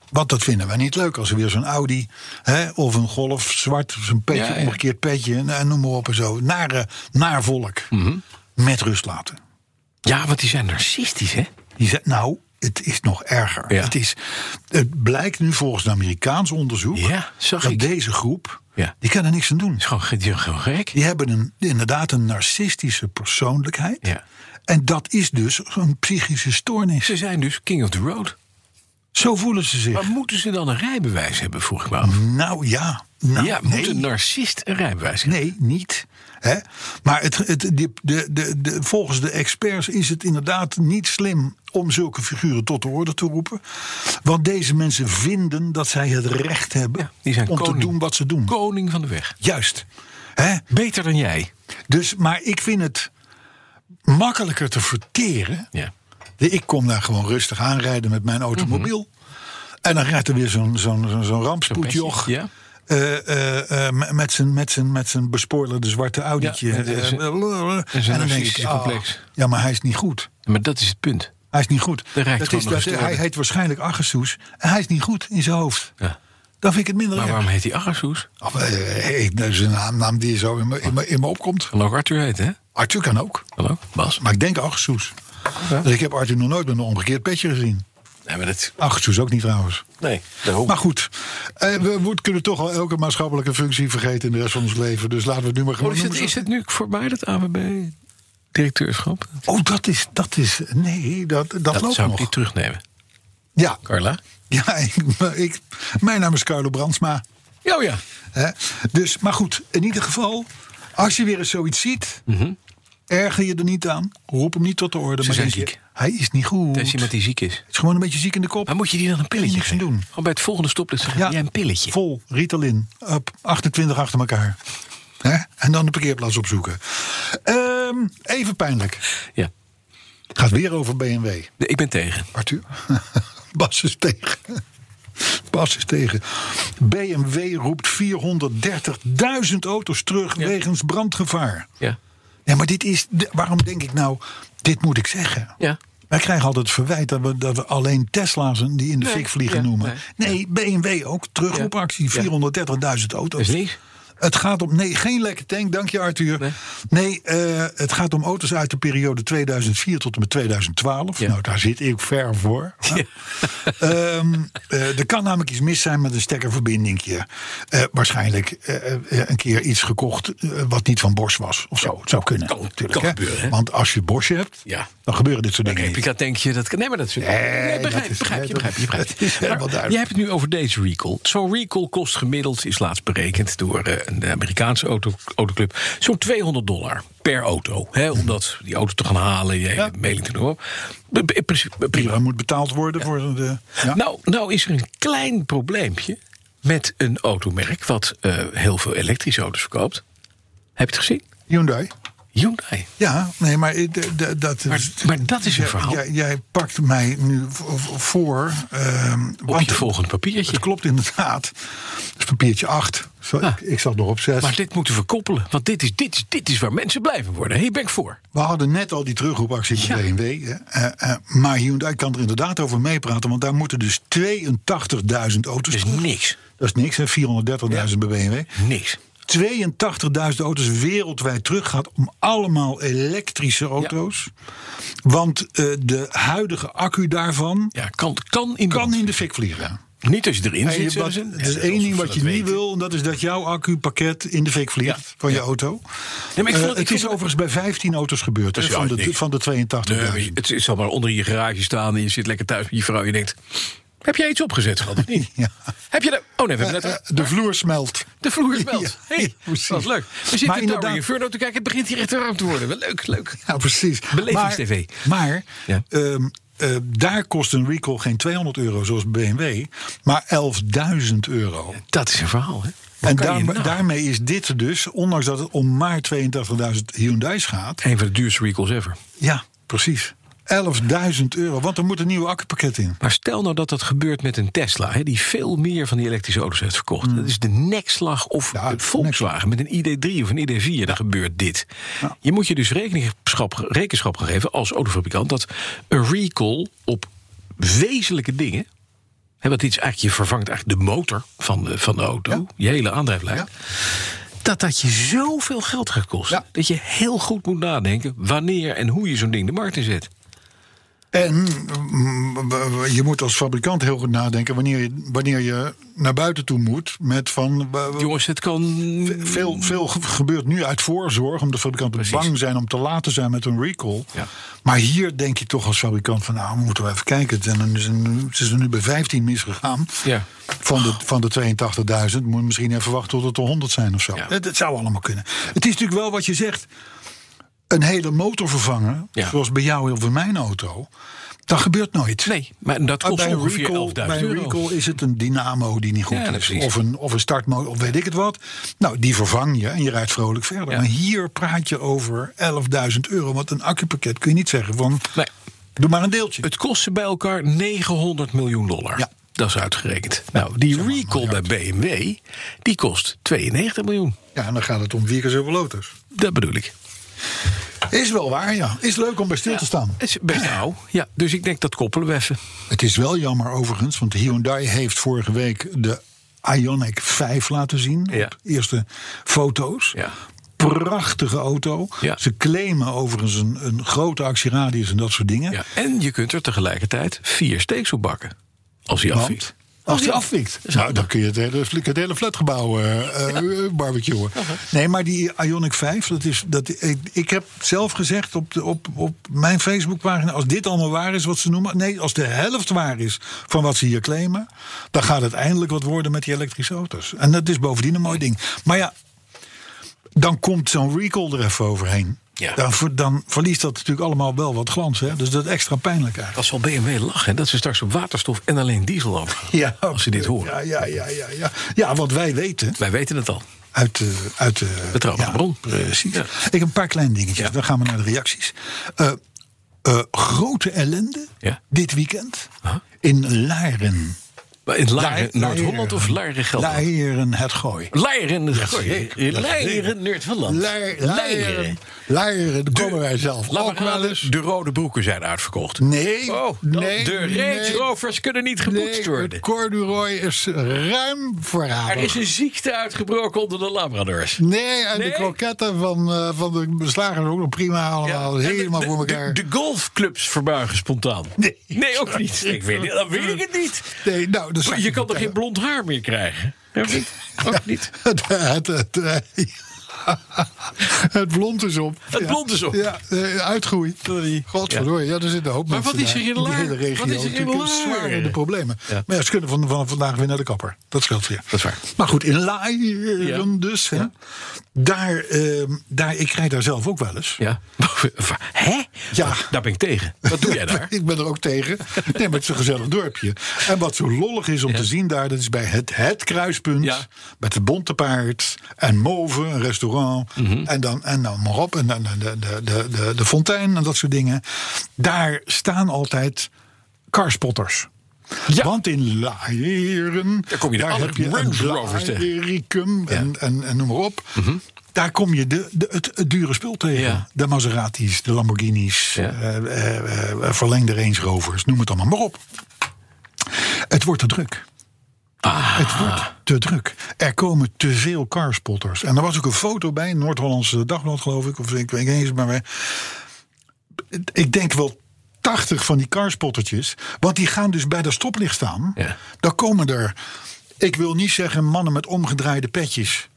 Speaker 2: Want dat vinden wij niet leuk als er weer zo'n Audi hè, of een Golf zwart, zo'n petje,
Speaker 3: Ja, ja.
Speaker 2: omgekeerd petje, en noem maar op en zo. Nare, naar volk.
Speaker 3: Mhm.
Speaker 2: Met rust laten.
Speaker 3: Ja, want die zijn narcistisch, hè?
Speaker 2: Die zei, nou, het is nog erger.
Speaker 3: Ja.
Speaker 2: Het, is, het blijkt nu volgens een Amerikaans onderzoek...
Speaker 3: Ja, zag
Speaker 2: dat
Speaker 3: ik.
Speaker 2: deze groep,
Speaker 3: Ja.
Speaker 2: die kan er niks aan doen.
Speaker 3: Is gewoon, ge- die- gewoon gek.
Speaker 2: Die hebben een, inderdaad een narcistische persoonlijkheid.
Speaker 3: Ja.
Speaker 2: En dat is dus een psychische stoornis.
Speaker 3: Ze zijn dus king of the road.
Speaker 2: Zo voelen ze zich.
Speaker 3: Maar moeten ze dan een rijbewijs hebben, vroeg ik me af.
Speaker 2: Nou ja, nou,
Speaker 3: ja,
Speaker 2: nee,
Speaker 3: moet een narcist een rijbewijs hebben?
Speaker 2: nee, niet. Hè? Maar het, het, die- de, de, de, volgens de experts is het inderdaad niet slim om zulke figuren tot de orde te roepen. Want deze mensen vinden dat zij het recht hebben
Speaker 3: Ja, die zijn
Speaker 2: om
Speaker 3: koning.
Speaker 2: te doen wat ze doen.
Speaker 3: Koning van de weg.
Speaker 2: Juist. Hè?
Speaker 3: Beter dan jij.
Speaker 2: Dus, maar ik vind het makkelijker te verteren.
Speaker 3: Ja.
Speaker 2: Ik kom daar gewoon rustig aanrijden met mijn automobiel. En dan rijdt er weer zo'n zo'n zo'n zo'n rampspoedjoch.
Speaker 3: Mhm. Zo'n pestje, ja.
Speaker 2: Eh, eh, eh, met- met zijn- met zijn- met zijn bespoilerde zwarte Audi'tje.
Speaker 3: Ja, dat is-
Speaker 2: Eh, blablabla.
Speaker 3: is een
Speaker 2: en dan denk ik,
Speaker 3: narcistische
Speaker 2: ah,
Speaker 3: complex.
Speaker 2: ja, maar hij is niet goed.
Speaker 3: Maar dat is het punt.
Speaker 2: Hij is niet goed.
Speaker 3: De Rijks
Speaker 2: Dat
Speaker 3: kan
Speaker 2: is,
Speaker 3: nog
Speaker 2: dat,
Speaker 3: gestoord.
Speaker 2: hij heet waarschijnlijk Argesoes. En hij is niet goed in zijn hoofd.
Speaker 3: Ja.
Speaker 2: Dan vind ik het minder
Speaker 3: Maar
Speaker 2: erg.
Speaker 3: waarom heet hij Agasoes?
Speaker 2: Of, eh, hey, dat is een naam, naam die zo in me, in me, in me opkomt.
Speaker 3: Kan ook Arthur heten, hè?
Speaker 2: Arthur kan ook.
Speaker 3: Hallo? Bas?
Speaker 2: Maar ik denk Argesoes. Dus ik heb Arthur nog nooit met een omgekeerd petje gezien.
Speaker 3: Nee, maar dat...
Speaker 2: Argesoes ook niet trouwens.
Speaker 3: Nee, daarom.
Speaker 2: Maar goed, eh, we moet- kunnen toch al elke maatschappelijke functie vergeten in de rest van ons leven. Dus laten we het nu maar
Speaker 3: Oh,
Speaker 2: gewoon
Speaker 3: is, het,
Speaker 2: noemen.
Speaker 3: is het nu voorbij, dat AWB-directeurschap?
Speaker 2: Oh, dat is, dat is, nee, dat, dat,
Speaker 3: Dat
Speaker 2: loopt
Speaker 3: zou
Speaker 2: nog.
Speaker 3: ik niet terugnemen.
Speaker 2: Ja,
Speaker 3: Carla?
Speaker 2: ja ik, maar ik, mijn naam is Carlo Brandsma.
Speaker 3: Ja, oh ja.
Speaker 2: Hè? Dus, maar goed, in ieder geval, als je weer eens zoiets ziet, erger je er niet aan. Roep hem niet tot de orde. maar
Speaker 3: Mhm. zijn
Speaker 2: denk je,
Speaker 3: ziek.
Speaker 2: Hij is niet goed.
Speaker 3: Er is iemand die ziek is.
Speaker 2: Het is gewoon een beetje ziek in de kop.
Speaker 3: Maar moet je die dan een pilletje
Speaker 2: niks aan
Speaker 3: geven?
Speaker 2: doen.
Speaker 3: Gewoon bij het volgende stoplicht zeggen, jij een pilletje.
Speaker 2: Vol Ritalin. Up, 28 achter elkaar. Hè? En dan de parkeerplaats opzoeken. Ehm, even pijnlijk.
Speaker 3: Ja.
Speaker 2: Gaat weer over BMW.
Speaker 3: Nee, ik ben tegen.
Speaker 2: Arthur? Bas is tegen. Bas is tegen. BMW roept 430.000 auto's terug
Speaker 3: Ja.
Speaker 2: wegens brandgevaar.
Speaker 3: Ja.
Speaker 2: Ja, maar dit is. de- Waarom denk ik nou, dit moet ik zeggen?
Speaker 3: Ja.
Speaker 2: Wij krijgen altijd het verwijt dat we, dat we alleen Tesla's die in de fik vliegen
Speaker 3: ja,
Speaker 2: noemen. Nee, BMW ook. Terugroepactie, 430.000 auto's.
Speaker 3: Is niks.
Speaker 2: Het gaat om. Nee, geen lekke tank, dank je Arthur. Nee,
Speaker 3: Nee.
Speaker 2: eh, het gaat om auto's uit de periode 2004 tot en met 2012.
Speaker 3: Ja.
Speaker 2: Nou, daar zit ik ver voor. Ehm, eh, er kan namelijk iets mis zijn met een stekkerverbindingje. Eh, waarschijnlijk eh, eh, een keer iets gekocht eh, wat niet van Bosch was. Of zo. Het zou kunnen.
Speaker 3: Kan-
Speaker 2: natuurlijk,
Speaker 3: kan
Speaker 2: hè.
Speaker 3: gebeuren, hè?
Speaker 2: Want als je Bosch hebt,
Speaker 3: Ja.
Speaker 2: dan gebeuren dit soort dingen.
Speaker 3: Nee,
Speaker 2: niet.
Speaker 3: dat denk je dat. Nee, maar dat is. Nee,
Speaker 2: dat
Speaker 3: begrijp,
Speaker 2: is-
Speaker 3: begrijp, je,
Speaker 2: dat-
Speaker 3: begrijp je, begrijp
Speaker 2: dat is
Speaker 3: je.
Speaker 2: helemaal
Speaker 3: Maar
Speaker 2: duidelijk.
Speaker 3: Je hebt het nu over deze recall. Zo'n recall kost gemiddeld, is laatst berekend door eh, een Amerikaanse auto, autoclub, zo'n 200 dollar per auto. Hè, om dat, die auto te gaan halen, je hele mailing te doen. In principe, prima.
Speaker 2: Prima, moet betaald worden voor de. Ja.
Speaker 3: Nou, nou is er een klein probleempje met een automerk wat eh, heel veel elektrische auto's verkoopt. Heb je het gezien?
Speaker 2: Hyundai.
Speaker 3: Hyundai.
Speaker 2: Ja, nee, maar eh, d- d- dat.
Speaker 3: Maar, maar dat is een
Speaker 2: Jij-
Speaker 3: verhaal.
Speaker 2: Jij, jij pakt mij nu v- v- voor. ehm,
Speaker 3: op
Speaker 2: want
Speaker 3: je volgend papiertje.
Speaker 2: het klopt inderdaad. Dat is papiertje 8. Zo,
Speaker 3: Ah.
Speaker 2: ik, ik zat nog op 6.
Speaker 3: Maar dit moeten we koppelen. Want dit is, dit is, dit is waar mensen blijven worden. Hier ben ik voor.
Speaker 2: We hadden net al die terugroepactie bij
Speaker 3: Ja.
Speaker 2: BMW. hè. Eh, eh, maar Hyundai kan er inderdaad over meepraten. Want daar moeten dus 82.000 auto's
Speaker 3: Dus
Speaker 2: terug.
Speaker 3: niks.
Speaker 2: Dat is niks, hè? 430.000 bij BMW.
Speaker 3: Niks.
Speaker 2: 82.000 auto's wereldwijd terug gaat om allemaal elektrische auto's. Want eh, de huidige accu daarvan
Speaker 3: Ja, kan, kan in de
Speaker 2: kan
Speaker 3: brand.
Speaker 2: in de fik vliegen.
Speaker 3: Niet als je erin
Speaker 2: Hey,
Speaker 3: zit.
Speaker 2: wat,
Speaker 3: zeggen ze.
Speaker 2: er is
Speaker 3: Ja,
Speaker 2: één
Speaker 3: alsof
Speaker 2: ding
Speaker 3: ze
Speaker 2: wat
Speaker 3: dat
Speaker 2: je niet
Speaker 3: weten.
Speaker 2: wil, en dat is dat jouw accupakket in de fik vliegt
Speaker 3: Ja,
Speaker 2: van je
Speaker 3: ja.
Speaker 2: auto.
Speaker 3: Nee, maar ik
Speaker 2: Eh,
Speaker 3: vond- ik
Speaker 2: het
Speaker 3: vond-
Speaker 2: is overigens bij 15 auto's gebeurd, hè,
Speaker 3: Dus ja,
Speaker 2: van, de,
Speaker 3: niks.
Speaker 2: van de 82.
Speaker 3: Nee, maar je- het, het zal maar onder in je garage staan en je zit lekker thuis met je vrouw. En je denkt: Heb jij iets opgezet, schat? Of niet?
Speaker 2: Ja.
Speaker 3: Heb je dat? Oh nee, we hebben net.
Speaker 2: Eh, de vloer smelt.
Speaker 3: De vloer smelt.
Speaker 2: Ja,
Speaker 3: hey,
Speaker 2: precies.
Speaker 3: dat is leuk. We zitten
Speaker 2: Maar
Speaker 3: in
Speaker 2: inderdaad-
Speaker 3: Tower Inferno te kijken. Het begint hier echt warm te worden. Wel Leuk, leuk.
Speaker 2: Ja, precies.
Speaker 3: Belevings-tv.
Speaker 2: Maar, maar
Speaker 3: Ja.
Speaker 2: ehm, eh, daar kost een recall geen 200 euro zoals BMW, maar 11.000 euro.
Speaker 3: Dat is een verhaal, hè? Wat
Speaker 2: en
Speaker 3: kan je
Speaker 2: daar-
Speaker 3: nou?
Speaker 2: daarmee is dit dus, ondanks dat het om maar 82.000 Hyundai's gaat,
Speaker 3: Een van de duurste recalls ever.
Speaker 2: ja, precies. 11.000 euro, want er moet een nieuw accupakket in.
Speaker 3: Maar stel nou dat dat gebeurt met een Tesla, hè, die veel meer van die elektrische auto's heeft verkocht. Dat is de nekslag of
Speaker 2: Hmm. Ja,
Speaker 3: een Volkswagen met een ID3 of een ID4, dan gebeurt dit. Je moet je dus rekenschap, rekenschap gaan geven als autofabrikant dat een recall op wezenlijke dingen. Hè, want dit is eigenlijk, je vervangt eigenlijk de motor van de, van de auto, je hele aandrijflijn.
Speaker 2: Ja.
Speaker 3: Dat dat je zoveel geld gaat kosten.
Speaker 2: Ja.
Speaker 3: Dat je heel goed moet nadenken wanneer en hoe je zo'n ding de markt inzet.
Speaker 2: En mm, je moet als fabrikant heel goed nadenken wanneer je, wanneer je naar buiten toe moet met van. eh,
Speaker 3: Jongens, het kan. Mm.
Speaker 2: veel, veel ge- gebeurt nu uit voorzorg, omdat fabrikanten bang zijn om te laat te zijn met een recall.
Speaker 3: Ja.
Speaker 2: Maar hier denk je toch als fabrikant van, nou, we moeten wel even kijken. Het, en, het is er nu bij 15 misgegaan.
Speaker 3: Ja.
Speaker 2: Van de, van de 82.000 moet je misschien even wachten tot het er 100 zijn of zo.
Speaker 3: Ja.
Speaker 2: Dat, dat zou allemaal kunnen. Het is natuurlijk wel wat je zegt. Een hele motor vervangen,
Speaker 3: Ja.
Speaker 2: zoals bij jou of bij mijn auto, dat gebeurt nooit.
Speaker 3: Nee, maar dat kost
Speaker 2: Oh, Bij een,
Speaker 3: ongeveer 11.000
Speaker 2: recall, bij een
Speaker 3: euro.
Speaker 2: recall is het een dynamo die niet goed
Speaker 3: Ja,
Speaker 2: is.
Speaker 3: precies.
Speaker 2: Of een, of een startmotor, of weet ik het wat. Nou, die vervang je en je rijdt vrolijk verder.
Speaker 3: Ja.
Speaker 2: Maar hier praat je over 11.000 euro. Want een accupakket kun je niet zeggen van...
Speaker 3: Nee.
Speaker 2: Doe maar een deeltje.
Speaker 3: Het kost ze bij elkaar 900 miljoen dollar.
Speaker 2: Ja.
Speaker 3: Dat is uitgerekend. Nou, die recall bij BMW, die kost 92 miljoen.
Speaker 2: Ja, en dan gaat het om vier keer zoveel auto's.
Speaker 3: Dat bedoel ik.
Speaker 2: Is wel waar, ja. Is leuk om bij stil te staan.
Speaker 3: Het is best oud. Ja, dus ik denk dat koppelen we even.
Speaker 2: Het is wel jammer overigens, want Hyundai heeft vorige week de Ionic 5 laten zien.
Speaker 3: Ja.
Speaker 2: Op de eerste foto's.
Speaker 3: Ja.
Speaker 2: Prachtige auto.
Speaker 3: Ja.
Speaker 2: Ze claimen overigens een, een grote actieradius en dat soort dingen.
Speaker 3: Ja. En je kunt er tegelijkertijd vier steeks op bakken. Als hij
Speaker 2: Want
Speaker 3: afviet.
Speaker 2: Als die afwikt. Nou, dan kun je het hele, flik- het hele flatgebouw eh eh, barbecuen. Nee, maar die Ionic 5, dat is, dat, ik, ik heb zelf gezegd op, de, op, op mijn Facebookpagina... als dit allemaal waar is wat ze noemen... nee, als de helft waar is van wat ze hier claimen... dan gaat het eindelijk wat worden met die elektrische auto's. En dat is bovendien een mooi ding. Maar ja, dan komt zo'n recall er even overheen.
Speaker 3: Ja.
Speaker 2: Dan, ver- dan verliest dat natuurlijk allemaal wel wat glans. Hè? Dus dat is extra pijnlijk eigenlijk.
Speaker 3: Dat zal BMW lachen, hè, dat ze straks op waterstof en alleen diesel overgaan.
Speaker 2: Ja,
Speaker 3: als ze dit horen.
Speaker 2: Ja, ja, ja, ja, ja. ja, want wij weten
Speaker 3: Wij weten het al.
Speaker 2: uit de... Uit de
Speaker 3: Betrouwbare
Speaker 2: ja,
Speaker 3: bron.
Speaker 2: Precies.
Speaker 3: Ja.
Speaker 2: Ik heb een paar kleine dingetjes.
Speaker 3: Ja.
Speaker 2: Dan gaan we naar de reacties. Eh, eh, grote ellende
Speaker 3: Ja.
Speaker 2: dit weekend in Laren.
Speaker 3: Maar in Laren,
Speaker 2: Laren-
Speaker 3: Noord-Holland of Laren Gelderland?
Speaker 2: Laren het Gooi.
Speaker 3: Laren, het gooi.
Speaker 2: zeker.
Speaker 3: Laren, Noord-Holland.
Speaker 2: Lair- Laren.
Speaker 3: Laren.
Speaker 2: Laren, daar komen wij zelf
Speaker 3: Laat
Speaker 2: ook
Speaker 3: maar raden,
Speaker 2: wel eens.
Speaker 3: de rode broeken zijn uitverkocht.
Speaker 2: Nee,
Speaker 3: Oh, dan-
Speaker 2: nee,
Speaker 3: de
Speaker 2: nee,
Speaker 3: Range Rovers kunnen niet
Speaker 2: nee,
Speaker 3: geboetst
Speaker 2: het
Speaker 3: worden.
Speaker 2: Corduroy is ruim
Speaker 3: Er
Speaker 2: verraden.
Speaker 3: is een ziekte uitgebroken onder de Labradors.
Speaker 2: Nee, en
Speaker 3: Nee.
Speaker 2: de kroketten van, eh, van de beslagers ook nog prima allemaal.
Speaker 3: Ja, en de-
Speaker 2: helemaal
Speaker 3: de-
Speaker 2: voor elkaar.
Speaker 3: De, de golfclubs verbuigen spontaan.
Speaker 2: Nee.
Speaker 3: ook niet. Ik weet, niet, dan weet ik het niet.
Speaker 2: nee, nou, dat zou
Speaker 3: Je kan toch
Speaker 2: vertellen.
Speaker 3: geen blond haar meer krijgen? Heb ik? Ook niet.
Speaker 2: Het, het, het, eh, het blond is op.
Speaker 3: Het
Speaker 2: Ja.
Speaker 3: blond is op.
Speaker 2: Ja, eh, uitgroei. Godverdorie, ja. er zit een hoop
Speaker 3: Maar
Speaker 2: mensen
Speaker 3: wat is er
Speaker 2: daar.
Speaker 3: in
Speaker 2: Die
Speaker 3: Laar?
Speaker 2: hele regio
Speaker 3: Wat is er in
Speaker 2: natuurlijk
Speaker 3: Laar?
Speaker 2: zwaar in de problemen.
Speaker 3: Ja.
Speaker 2: Maar ja, ze kunnen van, van vandaag weer naar de kapper. Dat scheelt weer.
Speaker 3: Dat is waar.
Speaker 2: Maar goed, in Laaien
Speaker 3: Ja.
Speaker 2: dus. Hè, daar, ehm, daar, ik rijd daar zelf ook wel eens.
Speaker 3: Ja. Hè?
Speaker 2: Ja.
Speaker 3: Daar ben ik tegen. Wat doe jij daar?
Speaker 2: Ik ben er ook tegen. Nee, maar het is een gezellig dorpje. En wat zo lollig is om te zien daar, dat is bij het, het kruispunt.
Speaker 3: Ja.
Speaker 2: Met het bonte paard en Move, een restaurant.
Speaker 3: Mhm.
Speaker 2: En dan, en dan maar op. En dan de, de, de, de, de, de fontein en dat soort dingen. Daar staan altijd carspotters.
Speaker 3: Ja.
Speaker 2: Want in Laieren,
Speaker 3: Daar kom je de alle
Speaker 2: heb je een
Speaker 3: Range Rovers tegen.
Speaker 2: Blaricum en, en, en noem maar op. Daar kom je de, de, het, het dure spul tegen.
Speaker 3: Mhm. Ja.
Speaker 2: De Maseratis, de Lamborghinis,
Speaker 3: Ja.
Speaker 2: eh, eh, eh, verlengde Range Rovers, noem het allemaal maar op. Het wordt te druk.
Speaker 3: Ah.
Speaker 2: Het wordt te druk. Er komen te veel carspotters. En er was ook een foto bij, Noord-Hollandse Dagblad geloof ik. Of ik weet niet eens, maar wij- ik denk wel 80 van die carspottertjes. Want die gaan dus bij dat stoplicht staan.
Speaker 3: Ja.
Speaker 2: Dan komen er, ik wil niet zeggen mannen met omgedraaide petjes.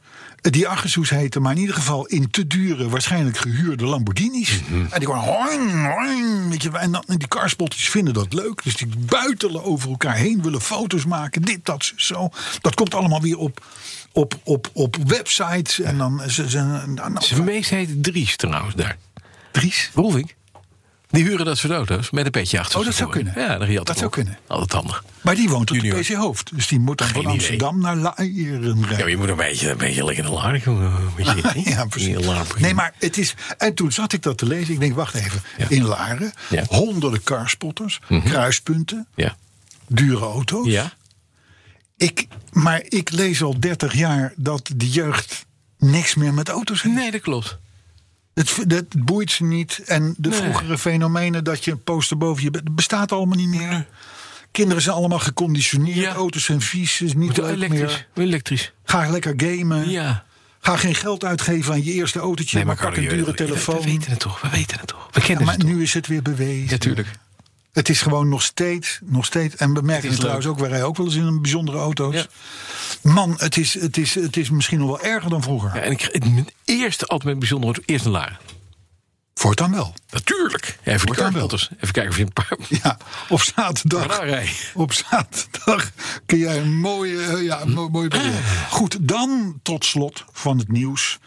Speaker 2: Die Achtersoes heten, maar in ieder geval in te dure, waarschijnlijk gehuurde Lamborghinis.
Speaker 3: Mhm.
Speaker 2: En die gewoon hoing, hoing, weet je, en, dan, en die carspottertjes vinden dat leuk. Dus die buitelen over elkaar heen, willen foto's maken, dit, dat, zo. Dat komt allemaal weer op, op, op, op websites. En dan ze, ze, nou, nou,
Speaker 3: Zijn meest heet Dries trouwens daar.
Speaker 2: Dries.
Speaker 3: Rolving. Die huren dat soort auto's met een petje achter.
Speaker 2: Oh, dat
Speaker 3: ze
Speaker 2: zou
Speaker 3: voor.
Speaker 2: kunnen.
Speaker 3: Ja, dat, riep
Speaker 2: Dat zou
Speaker 3: ook.
Speaker 2: kunnen.
Speaker 3: Altijd handig.
Speaker 2: Maar die woont op
Speaker 3: Junior.
Speaker 2: de PC Hoofd. Dus die moet dan van
Speaker 3: idee.
Speaker 2: Amsterdam naar Laieren
Speaker 3: Ja, maar
Speaker 2: rijden.
Speaker 3: je moet een beetje, een beetje lekker in de laag komen. eh, Een beetje,
Speaker 2: Ja,
Speaker 3: in de laag
Speaker 2: precies.
Speaker 3: beginnen.
Speaker 2: Nee, maar het is. En toen zat ik dat te lezen. Ik denk, wacht even. In Laren,
Speaker 3: Ja.
Speaker 2: honderden carspotters, kruispunten,
Speaker 3: Ja.
Speaker 2: dure auto's.
Speaker 3: Ja.
Speaker 2: Ik, maar ik lees al 30 jaar dat de jeugd niks meer met auto's heeft.
Speaker 3: Nee, dat klopt.
Speaker 2: Het, dat boeit ze niet. En de
Speaker 3: Nee.
Speaker 2: vroegere fenomenen dat je een poster boven je bed bestaat allemaal niet meer. Kinderen zijn allemaal geconditioneerd.
Speaker 3: Ja.
Speaker 2: Auto's zijn vies, is niet
Speaker 3: Moet
Speaker 2: leuk
Speaker 3: elektrisch.
Speaker 2: meer.
Speaker 3: Elektrisch.
Speaker 2: Ga lekker gamen.
Speaker 3: Ja.
Speaker 2: Ga geen geld uitgeven aan je eerste autootje, maar pak
Speaker 3: Carlo,
Speaker 2: een dure
Speaker 3: je- we-
Speaker 2: telefoon.
Speaker 3: We weten het toch, we weten het toch. We kennen
Speaker 2: Ja, maar
Speaker 3: het toch.
Speaker 2: nu is het weer bewezen.
Speaker 3: Natuurlijk.
Speaker 2: Het is gewoon nog steeds, nog steeds. En we merken
Speaker 3: is
Speaker 2: het, trouwens ook, wij rijden ook wel eens in een bijzondere auto's.
Speaker 3: Ja.
Speaker 2: Man, het is, het, is, het is misschien nog wel erger dan vroeger.
Speaker 3: Ja, en ik, het- mijn eerste, altijd mijn bijzonder wordt eerst een laren.
Speaker 2: Voortaan wel.
Speaker 3: Natuurlijk. Even die
Speaker 2: Wordt dan wel.
Speaker 3: carpenters. Even kijken of je een paar...
Speaker 2: Ja, op
Speaker 3: Maar
Speaker 2: zaterdag.
Speaker 3: daar rij je.
Speaker 2: Op zaterdag kun jij een mooie. eh, Ja, een mo- mooie periode. Goed, dan tot slot van het nieuws.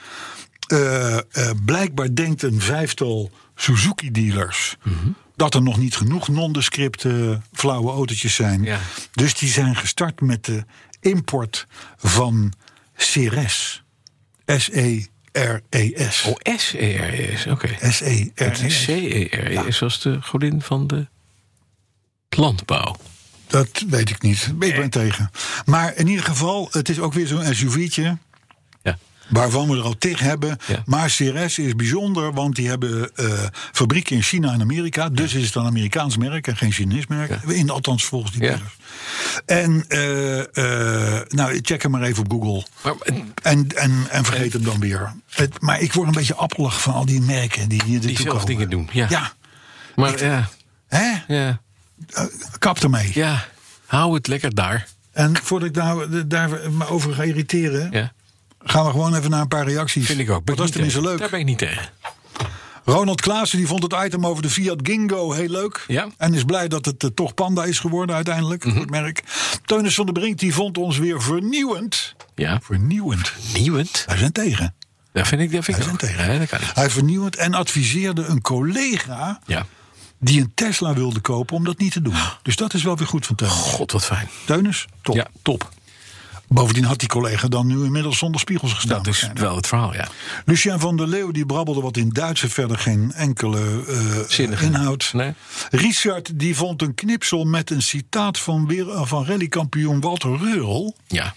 Speaker 2: Eh, eh, blijkbaar denkt een vijftal Suzuki-dealers.
Speaker 3: Mhm.
Speaker 2: Dat er nog niet genoeg nondescript eh, flauwe autootjes zijn.
Speaker 3: Ja.
Speaker 2: Dus die zijn gestart met de import van Ceres. E S-E-R-E-S.
Speaker 3: Oh, E S-E-R-E-S. Oké.
Speaker 2: E
Speaker 3: Het is
Speaker 2: S-E-R-E-S.
Speaker 3: C-E-R-E-S was de godin van de landbouw.
Speaker 2: Dat weet ik niet.
Speaker 3: Eh.
Speaker 2: Ik ben tegen. Maar in ieder geval, het is ook weer zo'n SUV'tje.
Speaker 3: Ja.
Speaker 2: Waarvan we er al tig hebben.
Speaker 3: Ja.
Speaker 2: Maar CRS is bijzonder, want die hebben eh, fabrieken in China en Amerika. Dus is het een Amerikaans merk en geen Chinees merk. In, althans, volgens die
Speaker 3: Ja.
Speaker 2: dealers. En, eh, eh, nou, check hem maar even op Google.
Speaker 3: Maar, eh,
Speaker 2: En, en, en vergeet hem dan weer. Het- maar ik word een beetje appelig van al die merken die hier
Speaker 3: Die
Speaker 2: naartoe
Speaker 3: zelf
Speaker 2: komen.
Speaker 3: dingen doen, ja.
Speaker 2: ja.
Speaker 3: maar ja,
Speaker 2: Hè? Eh,
Speaker 3: ja,
Speaker 2: Kap ermee.
Speaker 3: ja, hou het lekker daar.
Speaker 2: En voordat ik daar, daar me over ga irriteren,
Speaker 3: Ja,
Speaker 2: gaan we gewoon even naar een paar reacties.
Speaker 3: vind ik ook. Ben
Speaker 2: Want dat is
Speaker 3: ik niet
Speaker 2: tenminste
Speaker 3: tegen.
Speaker 2: leuk.
Speaker 3: Daar ben ik niet tegen.
Speaker 2: Ronald Klaassen die vond het item over de Fiat Gingo heel leuk.
Speaker 3: Ja. Mhm.
Speaker 2: En is blij dat het eh, toch Panda is geworden uiteindelijk. Goed merk. Teunis van der Brink die vond ons weer vernieuwend.
Speaker 3: Ja,
Speaker 2: Vernieuwend.
Speaker 3: nieuwend.
Speaker 2: Wij zijn tegen.
Speaker 3: Daar vind ik, daar vind ik
Speaker 2: Daar
Speaker 3: ook
Speaker 2: zijn we tegen.
Speaker 3: Ja, dat kan niet.
Speaker 2: Hij vernieuwend en adviseerde een collega
Speaker 3: Ja.
Speaker 2: die een Tesla wilde kopen om dat niet te doen. Dus dat is wel weer goed van Teunis.
Speaker 3: God, wat fijn.
Speaker 2: Teunis, top.
Speaker 3: Ja, top.
Speaker 2: Bovendien had die collega dan nu inmiddels zonder spiegels gestaan.
Speaker 3: Dat is
Speaker 2: waarschijnlijk.
Speaker 3: wel het verhaal, ja.
Speaker 2: Lucien van der Leeuw die brabbelde wat in Duits en verder geen enkele eh,
Speaker 3: Zinnige.
Speaker 2: inhoud.
Speaker 3: Nee.
Speaker 2: Richard die vond een knipsel met een citaat van, weer, eh, van rallykampioen Walter Reurl.
Speaker 3: Ja.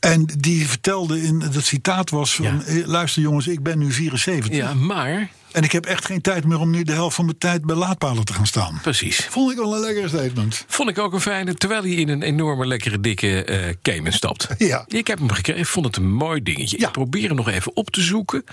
Speaker 2: En die vertelde in dat citaat was van
Speaker 3: Ja.
Speaker 2: eh, luister jongens ik ben nu 74
Speaker 3: ja, maar,
Speaker 2: en ik heb echt geen tijd meer om nu de helft van mijn tijd bij laadpalen te gaan staan.
Speaker 3: precies.
Speaker 2: Vond ik wel een lekker statement.
Speaker 3: Vond ik ook een fijne, terwijl hij in een enorme, lekkere, dikke eh Cayman stapt.
Speaker 2: Ja.
Speaker 3: Ik heb hem gekregen, vond het een mooi dingetje.
Speaker 2: Ja.
Speaker 3: Ik probeer hem nog even op te zoeken.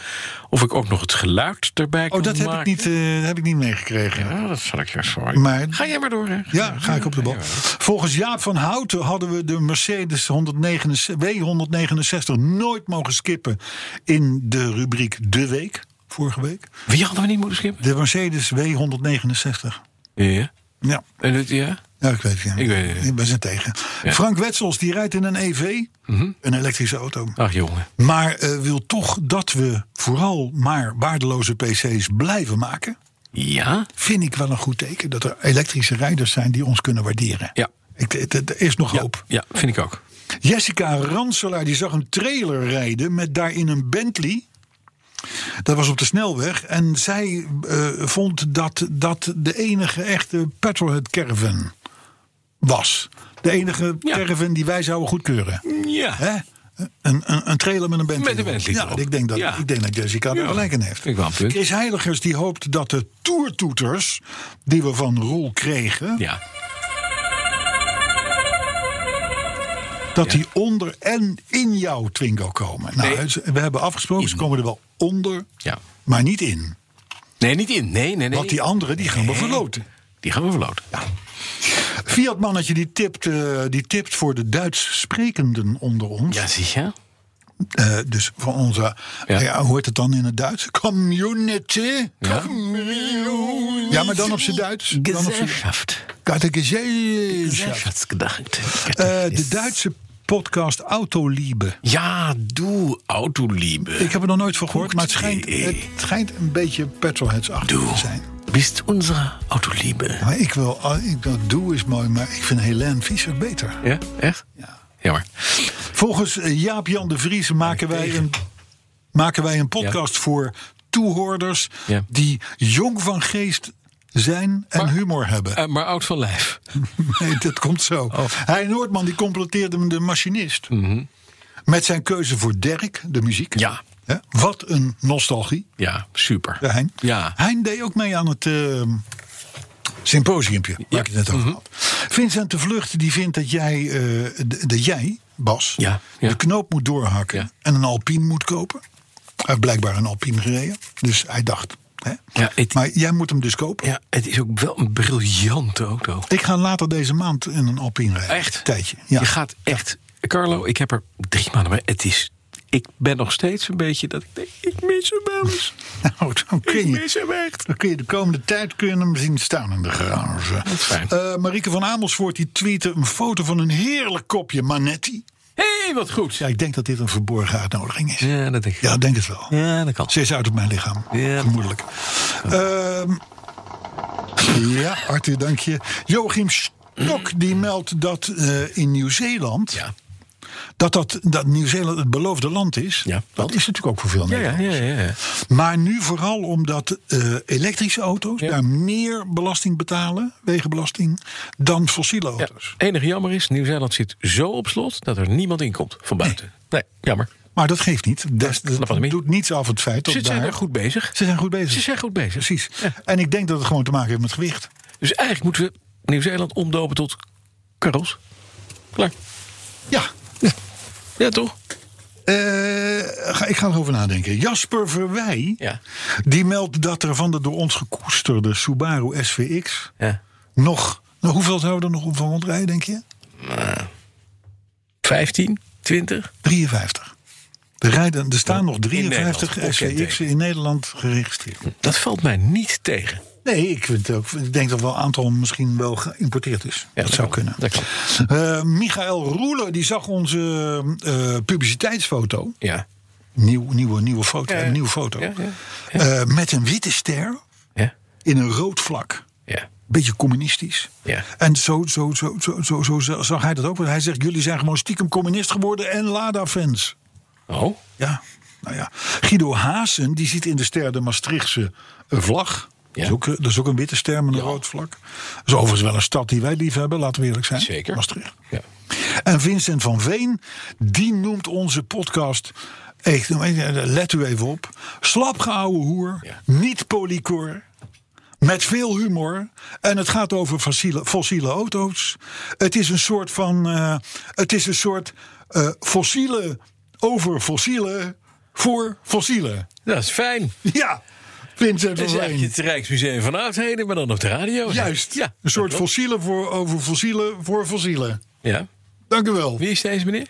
Speaker 3: Of ik ook nog het geluid erbij kan
Speaker 2: Oh dat heb ik
Speaker 3: maken.
Speaker 2: niet, eh, heb ik niet meegekregen.
Speaker 3: Ja, dat zal ik je sorry.
Speaker 2: Maar
Speaker 3: Ga jij maar door, hè?
Speaker 2: Ja, ga ik op de bal. Volgens Jaap van Houten hadden we de Mercedes 169 W169 nooit mogen skippen in de rubriek De Week, vorige week.
Speaker 3: Wie hadden we niet moeten schippen?
Speaker 2: De Mercedes W169.
Speaker 3: Ja.
Speaker 2: Ja,
Speaker 3: En het, ja?
Speaker 2: ja ik weet het. Ja.
Speaker 3: Ik weet het, ja. Mhm.
Speaker 2: ben ze tegen. Frank Wetsels, die rijdt in een EV, een elektrische auto.
Speaker 3: Ach, jongen.
Speaker 2: Maar eh, wil toch dat we vooral maar waardeloze PC's blijven maken.
Speaker 3: Ja?
Speaker 2: Vind ik wel een goed teken dat er elektrische rijders zijn die ons kunnen waarderen.
Speaker 3: Ja.
Speaker 2: Ik, het- het- er is nog
Speaker 3: Ja,
Speaker 2: hoop.
Speaker 3: ja, vind ik ook.
Speaker 2: Jessica Ranselaar die zag een trailer rijden met daarin een Bentley. Dat was op de snelweg. En zij eh, vond dat dat de enige echte petrolhead caravan was. De enige
Speaker 3: Ja.
Speaker 2: caravan die wij zouden goedkeuren.
Speaker 3: Ja.
Speaker 2: Hè? Een, een, een trailer met een Bentley.
Speaker 3: Met een Bentley
Speaker 2: Ja,
Speaker 3: erop.
Speaker 2: ik denk dat,
Speaker 3: Ja.
Speaker 2: ik denk dat Jessica er
Speaker 3: Ja.
Speaker 2: gelijk in heeft.
Speaker 3: Vind ik wel een punt.
Speaker 2: Chris Heiligers die hoopt dat de toertoeters die we van Roel kregen...
Speaker 3: Ja.
Speaker 2: Dat die onder en in jouw Twingo komen. Nou, ze- we hebben afgesproken, ze komen er wel onder,
Speaker 3: Ja.
Speaker 2: maar niet in.
Speaker 3: Nee, niet in. Nee, nee, nee.
Speaker 2: Want die anderen, die gaan we
Speaker 3: Nee.
Speaker 2: verloten.
Speaker 3: Die gaan we verloten.
Speaker 2: Fiat-mannetje die tipt, eh, die tipt voor de Duits sprekenden onder ons.
Speaker 3: Ja, zie je?
Speaker 2: Eh, dus van onze,
Speaker 3: Ja.
Speaker 2: eh, ja. hoe heet het dan in het Duits? Community.
Speaker 3: Ja.
Speaker 2: Community. Ja, maar dan op zijn Duits. Dan op z'n-
Speaker 3: Gesellschaft.
Speaker 2: Kijk, de gezelschap.
Speaker 3: Gesellschaftsgedachte.
Speaker 2: Eh, de Duitse podcast Autoliebe.
Speaker 3: Ja, doe autoliebe.
Speaker 2: Ik heb er nog nooit van gehoord, maar het schijnt,
Speaker 3: Hoekt-ie.
Speaker 2: het schijnt een beetje petrolheads-achtig te zijn.
Speaker 3: Bist unsere autoliebe.
Speaker 2: Maar ik wil, al- ik, dat doe is mooi, maar ik vind Helene Visser beter.
Speaker 3: Ja, echt?
Speaker 2: Ja.
Speaker 3: Jammer.
Speaker 2: Volgens eh, Jaap-Jan de Vries maken wij een, maken wij een podcast voor toehoorders
Speaker 3: Ja.
Speaker 2: die jong van geest zijn en
Speaker 3: Maar-
Speaker 2: humor hebben.
Speaker 3: Eh, maar oud van lijf.
Speaker 2: Nee, dat komt zo.
Speaker 3: Oh.
Speaker 2: Hij Noordman die completeerde hem de machinist. Met zijn keuze voor Dirk, de muziek.
Speaker 3: Mhm. Ja.
Speaker 2: Hè? Wat een nostalgie,
Speaker 3: Ja, super.
Speaker 2: de Hein.
Speaker 3: Ja.
Speaker 2: Hein deed ook mee aan het eh, symposiumpje. Waar ik het net
Speaker 3: Mhm.
Speaker 2: over had. Vincent de Vlucht die vindt dat jij, eh, d- dat jij Bas,
Speaker 3: Ja, ja.
Speaker 2: de knoop moet doorhakken.
Speaker 3: Ja.
Speaker 2: En een Alpine moet kopen. Hij heeft blijkbaar een Alpine gereden. Dus hij dacht, Hè?
Speaker 3: Ja, het-
Speaker 2: Maar jij moet hem dus kopen.
Speaker 3: Ja, het is ook wel een briljante auto.
Speaker 2: Ik ga later deze maand in een Alpine rijden.
Speaker 3: Echt?
Speaker 2: Tijdje. Ja.
Speaker 3: Je gaat echt. Carlo, ik heb er drie maanden mee. Het is. Ik ben nog steeds een beetje dat ik denk, ik mis hem wel eens.
Speaker 2: Nou, dan
Speaker 3: Ik
Speaker 2: kun je,
Speaker 3: mis hem echt.
Speaker 2: dan kun je de komende tijd kun je hem zien staan in de garage. Dat
Speaker 3: is fijn.
Speaker 2: Marieke van Amersfoort die tweette een foto van een heerlijk kopje Manetti.
Speaker 3: Hé, hey, wat goed.
Speaker 2: Ja, ik denk dat dit een verborgen uitnodiging is.
Speaker 3: Ja, dat denk ik.
Speaker 2: Ja, ik denk het wel.
Speaker 3: Ja, dat kan.
Speaker 2: Ze is uit op mijn lichaam.
Speaker 3: Ja.
Speaker 2: Vermoedelijk. Ehm, ja, Arthur, dank je. Joachim Stok die meldt dat eh, in Nieuw-Zeeland.
Speaker 3: Ja.
Speaker 2: Dat, dat, dat Nieuw-Zeeland het beloofde land is.
Speaker 3: Ja.
Speaker 2: Dat is natuurlijk ook voor veel
Speaker 3: Ja, ja,
Speaker 2: Nederlanders.
Speaker 3: ja, ja. ja.
Speaker 2: Maar nu vooral omdat eh, elektrische auto's
Speaker 3: Ja.
Speaker 2: daar meer belasting betalen, wegenbelasting, dan fossiele
Speaker 3: Ja,
Speaker 2: auto's.
Speaker 3: enige jammer is, Nieuw-Zeeland zit zo op slot dat er niemand in komt van buiten. Nee, jammer.
Speaker 2: Maar dat geeft niet. Des,
Speaker 3: snap wat ik
Speaker 2: dat
Speaker 3: bedoel.
Speaker 2: doet niets af het feit dat
Speaker 3: Ze
Speaker 2: daar,
Speaker 3: zijn er goed bezig.
Speaker 2: Ze zijn goed bezig.
Speaker 3: Ze zijn goed bezig.
Speaker 2: Precies. En ik denk dat het gewoon te maken heeft met gewicht.
Speaker 3: Dus eigenlijk moeten we Nieuw-Zeeland omdopen tot Karels. Klaar.
Speaker 2: Ja,
Speaker 3: Ja, toch?
Speaker 2: Eh, ga, ik ga erover nadenken. Jasper Verwij,
Speaker 3: Ja.
Speaker 2: die meldt dat er van de door ons gekoesterde Subaru SVX
Speaker 3: Ja.
Speaker 2: nog... Nou, hoeveel zouden we er nog op van rondrijden, denk je?
Speaker 3: 15, 20.
Speaker 2: 53. Er, rijden, er staan nog
Speaker 3: Nederland,
Speaker 2: 53
Speaker 3: bekend
Speaker 2: SVX'en
Speaker 3: teken.
Speaker 2: in Nederland geregistreerd.
Speaker 3: Dat valt mij niet tegen.
Speaker 2: Nee, ik, vind het ook, ik denk dat wel een aantal misschien wel geïmporteerd is. dat,
Speaker 3: dat
Speaker 2: zou
Speaker 3: kan.
Speaker 2: kunnen.
Speaker 3: Dat kan.
Speaker 2: Eh, Michael Roeler die zag onze eh, publiciteitsfoto.
Speaker 3: Ja.
Speaker 2: Nieuw, nieuwe, nieuwe foto.
Speaker 3: Ja, ja.
Speaker 2: Een nieuwe foto.
Speaker 3: Ja, ja,
Speaker 2: Eh, met een witte ster
Speaker 3: Ja.
Speaker 2: in een rood vlak.
Speaker 3: Ja.
Speaker 2: Beetje communistisch.
Speaker 3: Ja.
Speaker 2: En zo, zo, zo, zo, zo, zo zag hij dat ook. Want hij zegt, jullie zijn gewoon stiekem communist geworden en Lada-fans.
Speaker 3: Oh.
Speaker 2: Ja, nou ja. Guido Haasen, die ziet in de ster de Maastrichtse eh, vlag.
Speaker 3: Ja.
Speaker 2: Dat, is ook, eh, dat is ook een witte ster met een rood vlak. Dat is overigens wel een stad die wij lief hebben, laten we eerlijk zijn.
Speaker 3: Zeker.
Speaker 2: Maastricht.
Speaker 3: Ja.
Speaker 2: En Vincent van Veen, die noemt onze podcast. Echt, let u even op. Slapgeouwe hoer,
Speaker 3: Ja.
Speaker 2: niet polycor. Met veel humor. En het gaat over fossiele, fossiele auto's. Het is een soort van. eh, het is een soort eh, fossiele over fossiele voor fossiele.
Speaker 3: Dat is fijn.
Speaker 2: Ja,
Speaker 3: Dat
Speaker 2: Vincent van
Speaker 3: is
Speaker 2: Veen.
Speaker 3: eigenlijk het Rijksmuseum van Oudheden, maar dan op de radio.
Speaker 2: Juist.
Speaker 3: Ja.
Speaker 2: een soort fossiele voor, over fossiele voor fossiele.
Speaker 3: Ja.
Speaker 2: Dank u wel.
Speaker 3: Wie is deze meneer?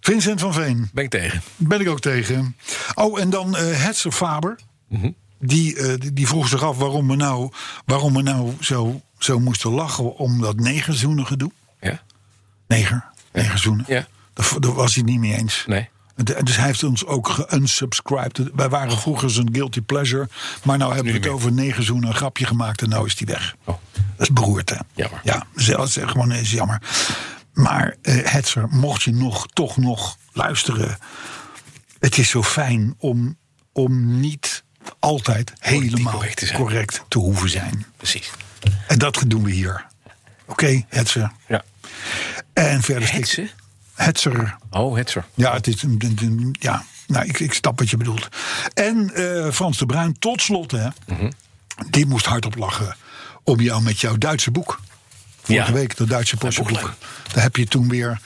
Speaker 2: Vincent van Veen.
Speaker 3: Ben ik tegen.
Speaker 2: Ben ik ook tegen. Oh, en dan eh Hetzer Faber.
Speaker 3: Mhm.
Speaker 2: die, eh, die, die vroeg zich af waarom we nou, waarom we nou zo, zo moesten lachen om dat negerzoenen gedoe.
Speaker 3: Ja.
Speaker 2: Neger, negerzoenen.
Speaker 3: Ja.
Speaker 2: Daar, daar was hij het niet mee eens.
Speaker 3: Nee.
Speaker 2: De- Dus hij heeft ons ook geunsubscribed. Wij waren vroeger zijn guilty pleasure. Maar nou hebben we het over negen zoenen een grapje gemaakt en nou is die weg.
Speaker 3: Oh.
Speaker 2: Dat is beroerd, hè?
Speaker 3: Jammer.
Speaker 2: Ja, zelfs eh, gewoon is jammer. Maar eh Hetzer, mocht je nog, toch nog luisteren. Het is zo fijn om, om niet altijd helemaal
Speaker 3: correct te zijn.
Speaker 2: correct te hoeven zijn.
Speaker 3: Precies.
Speaker 2: En dat doen we hier. Oké, Hetzer.
Speaker 3: Ja.
Speaker 2: En verder steek-
Speaker 3: Hetzer?
Speaker 2: Hetzer.
Speaker 3: Oh, Hetzer.
Speaker 2: Ja, het is een, een- een- ja. Nou, ik, ik snap wat je bedoelt. En eh, Frans de Bruin, tot slot, hè,
Speaker 3: Mhm.
Speaker 2: die moest hardop lachen om jou met jouw Duitse boek. Vorige
Speaker 3: Ja.
Speaker 2: week, dat Duitse postboek.
Speaker 3: boeklein.
Speaker 2: Daar heb je toen weer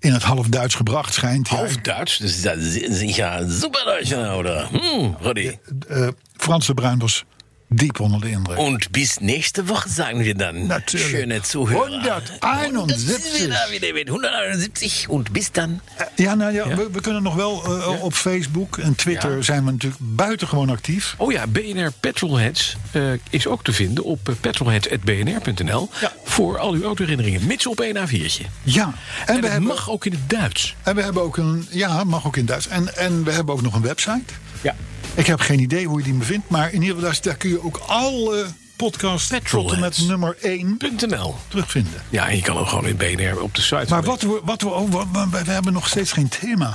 Speaker 2: in het half Duits gebracht, schijnt. Ja,
Speaker 3: Half Duits, dus dat is ja super Duits houden. Hm, Roddy.
Speaker 2: eh, Frans de Bruin was diep onder de indruk.
Speaker 3: Und bis nächste Woche sagen wir dann.
Speaker 2: Natürlich.
Speaker 3: Schöne Zuhörer.
Speaker 2: 171.
Speaker 3: Wieder, wieder mit 171 und bis dann.
Speaker 2: Ja, nou ja, We, we kunnen nog wel eh, op Facebook en Twitter
Speaker 3: Ja.
Speaker 2: zijn we natuurlijk buitengewoon actief.
Speaker 3: Oh ja, BNR Petrolheads eh, is ook te vinden op eh, petrolheads.bnr.nl
Speaker 2: Ja.
Speaker 3: voor al uw autoherinneringen, mits op 1 A4'tje.
Speaker 2: Ja,
Speaker 3: En,
Speaker 2: we
Speaker 3: het
Speaker 2: hebben-
Speaker 3: mag ook in het Duits.
Speaker 2: En we hebben ook een. Ja, mag ook in Duits. En, en we hebben ook nog een website.
Speaker 3: Ja.
Speaker 2: Ik heb geen idee hoe je die bevindt. Maar in ieder geval, daar, daar kun je ook alle podcasts tot en met
Speaker 3: Petrolheads.
Speaker 2: nummer 1
Speaker 3: .nl.
Speaker 2: terugvinden.
Speaker 3: Ja, en je kan ook gewoon in BNR op de site.
Speaker 2: Maar wat we. Wat we, oh, wat- we, we hebben nog steeds geen thema.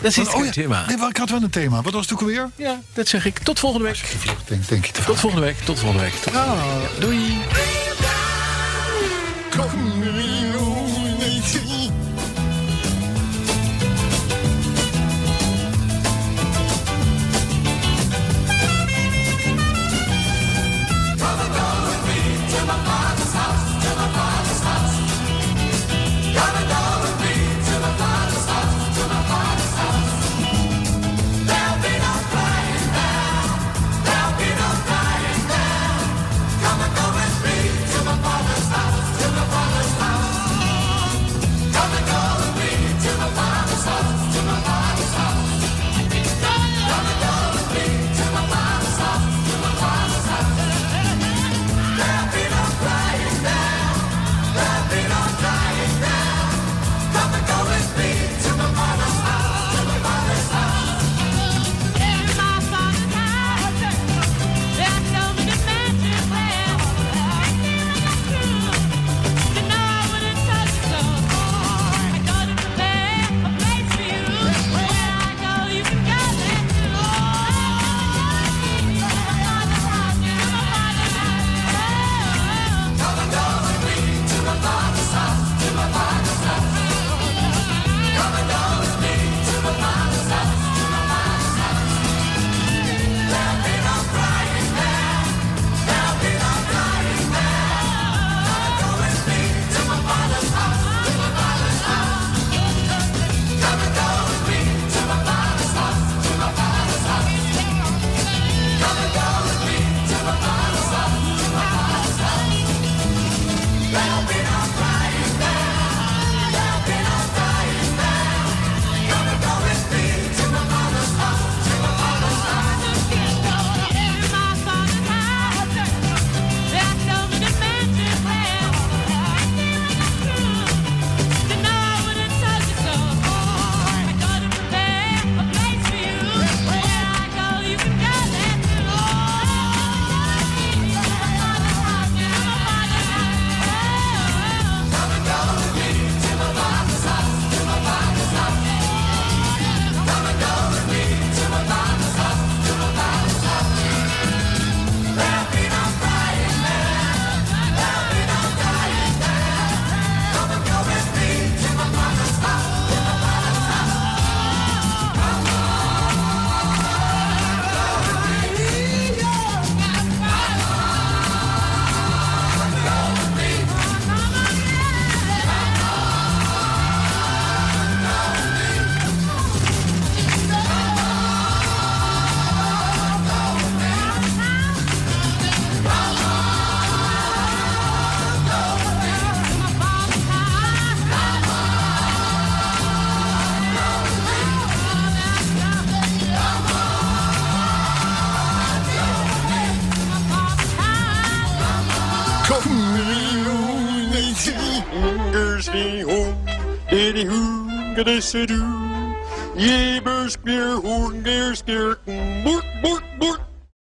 Speaker 3: Dat is
Speaker 2: Want- oh
Speaker 3: het
Speaker 2: ja,
Speaker 3: thema.
Speaker 2: nee, wel, ik had wel een thema. Wat was het ook alweer?
Speaker 3: Ja, dat zeg ik. Tot volgende week.
Speaker 2: Denk, denk je te
Speaker 3: Tot volgende week. Tot volgende week. Tot volgende week. Ja, Doei.
Speaker 6: There'll be no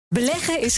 Speaker 7: Beleggen is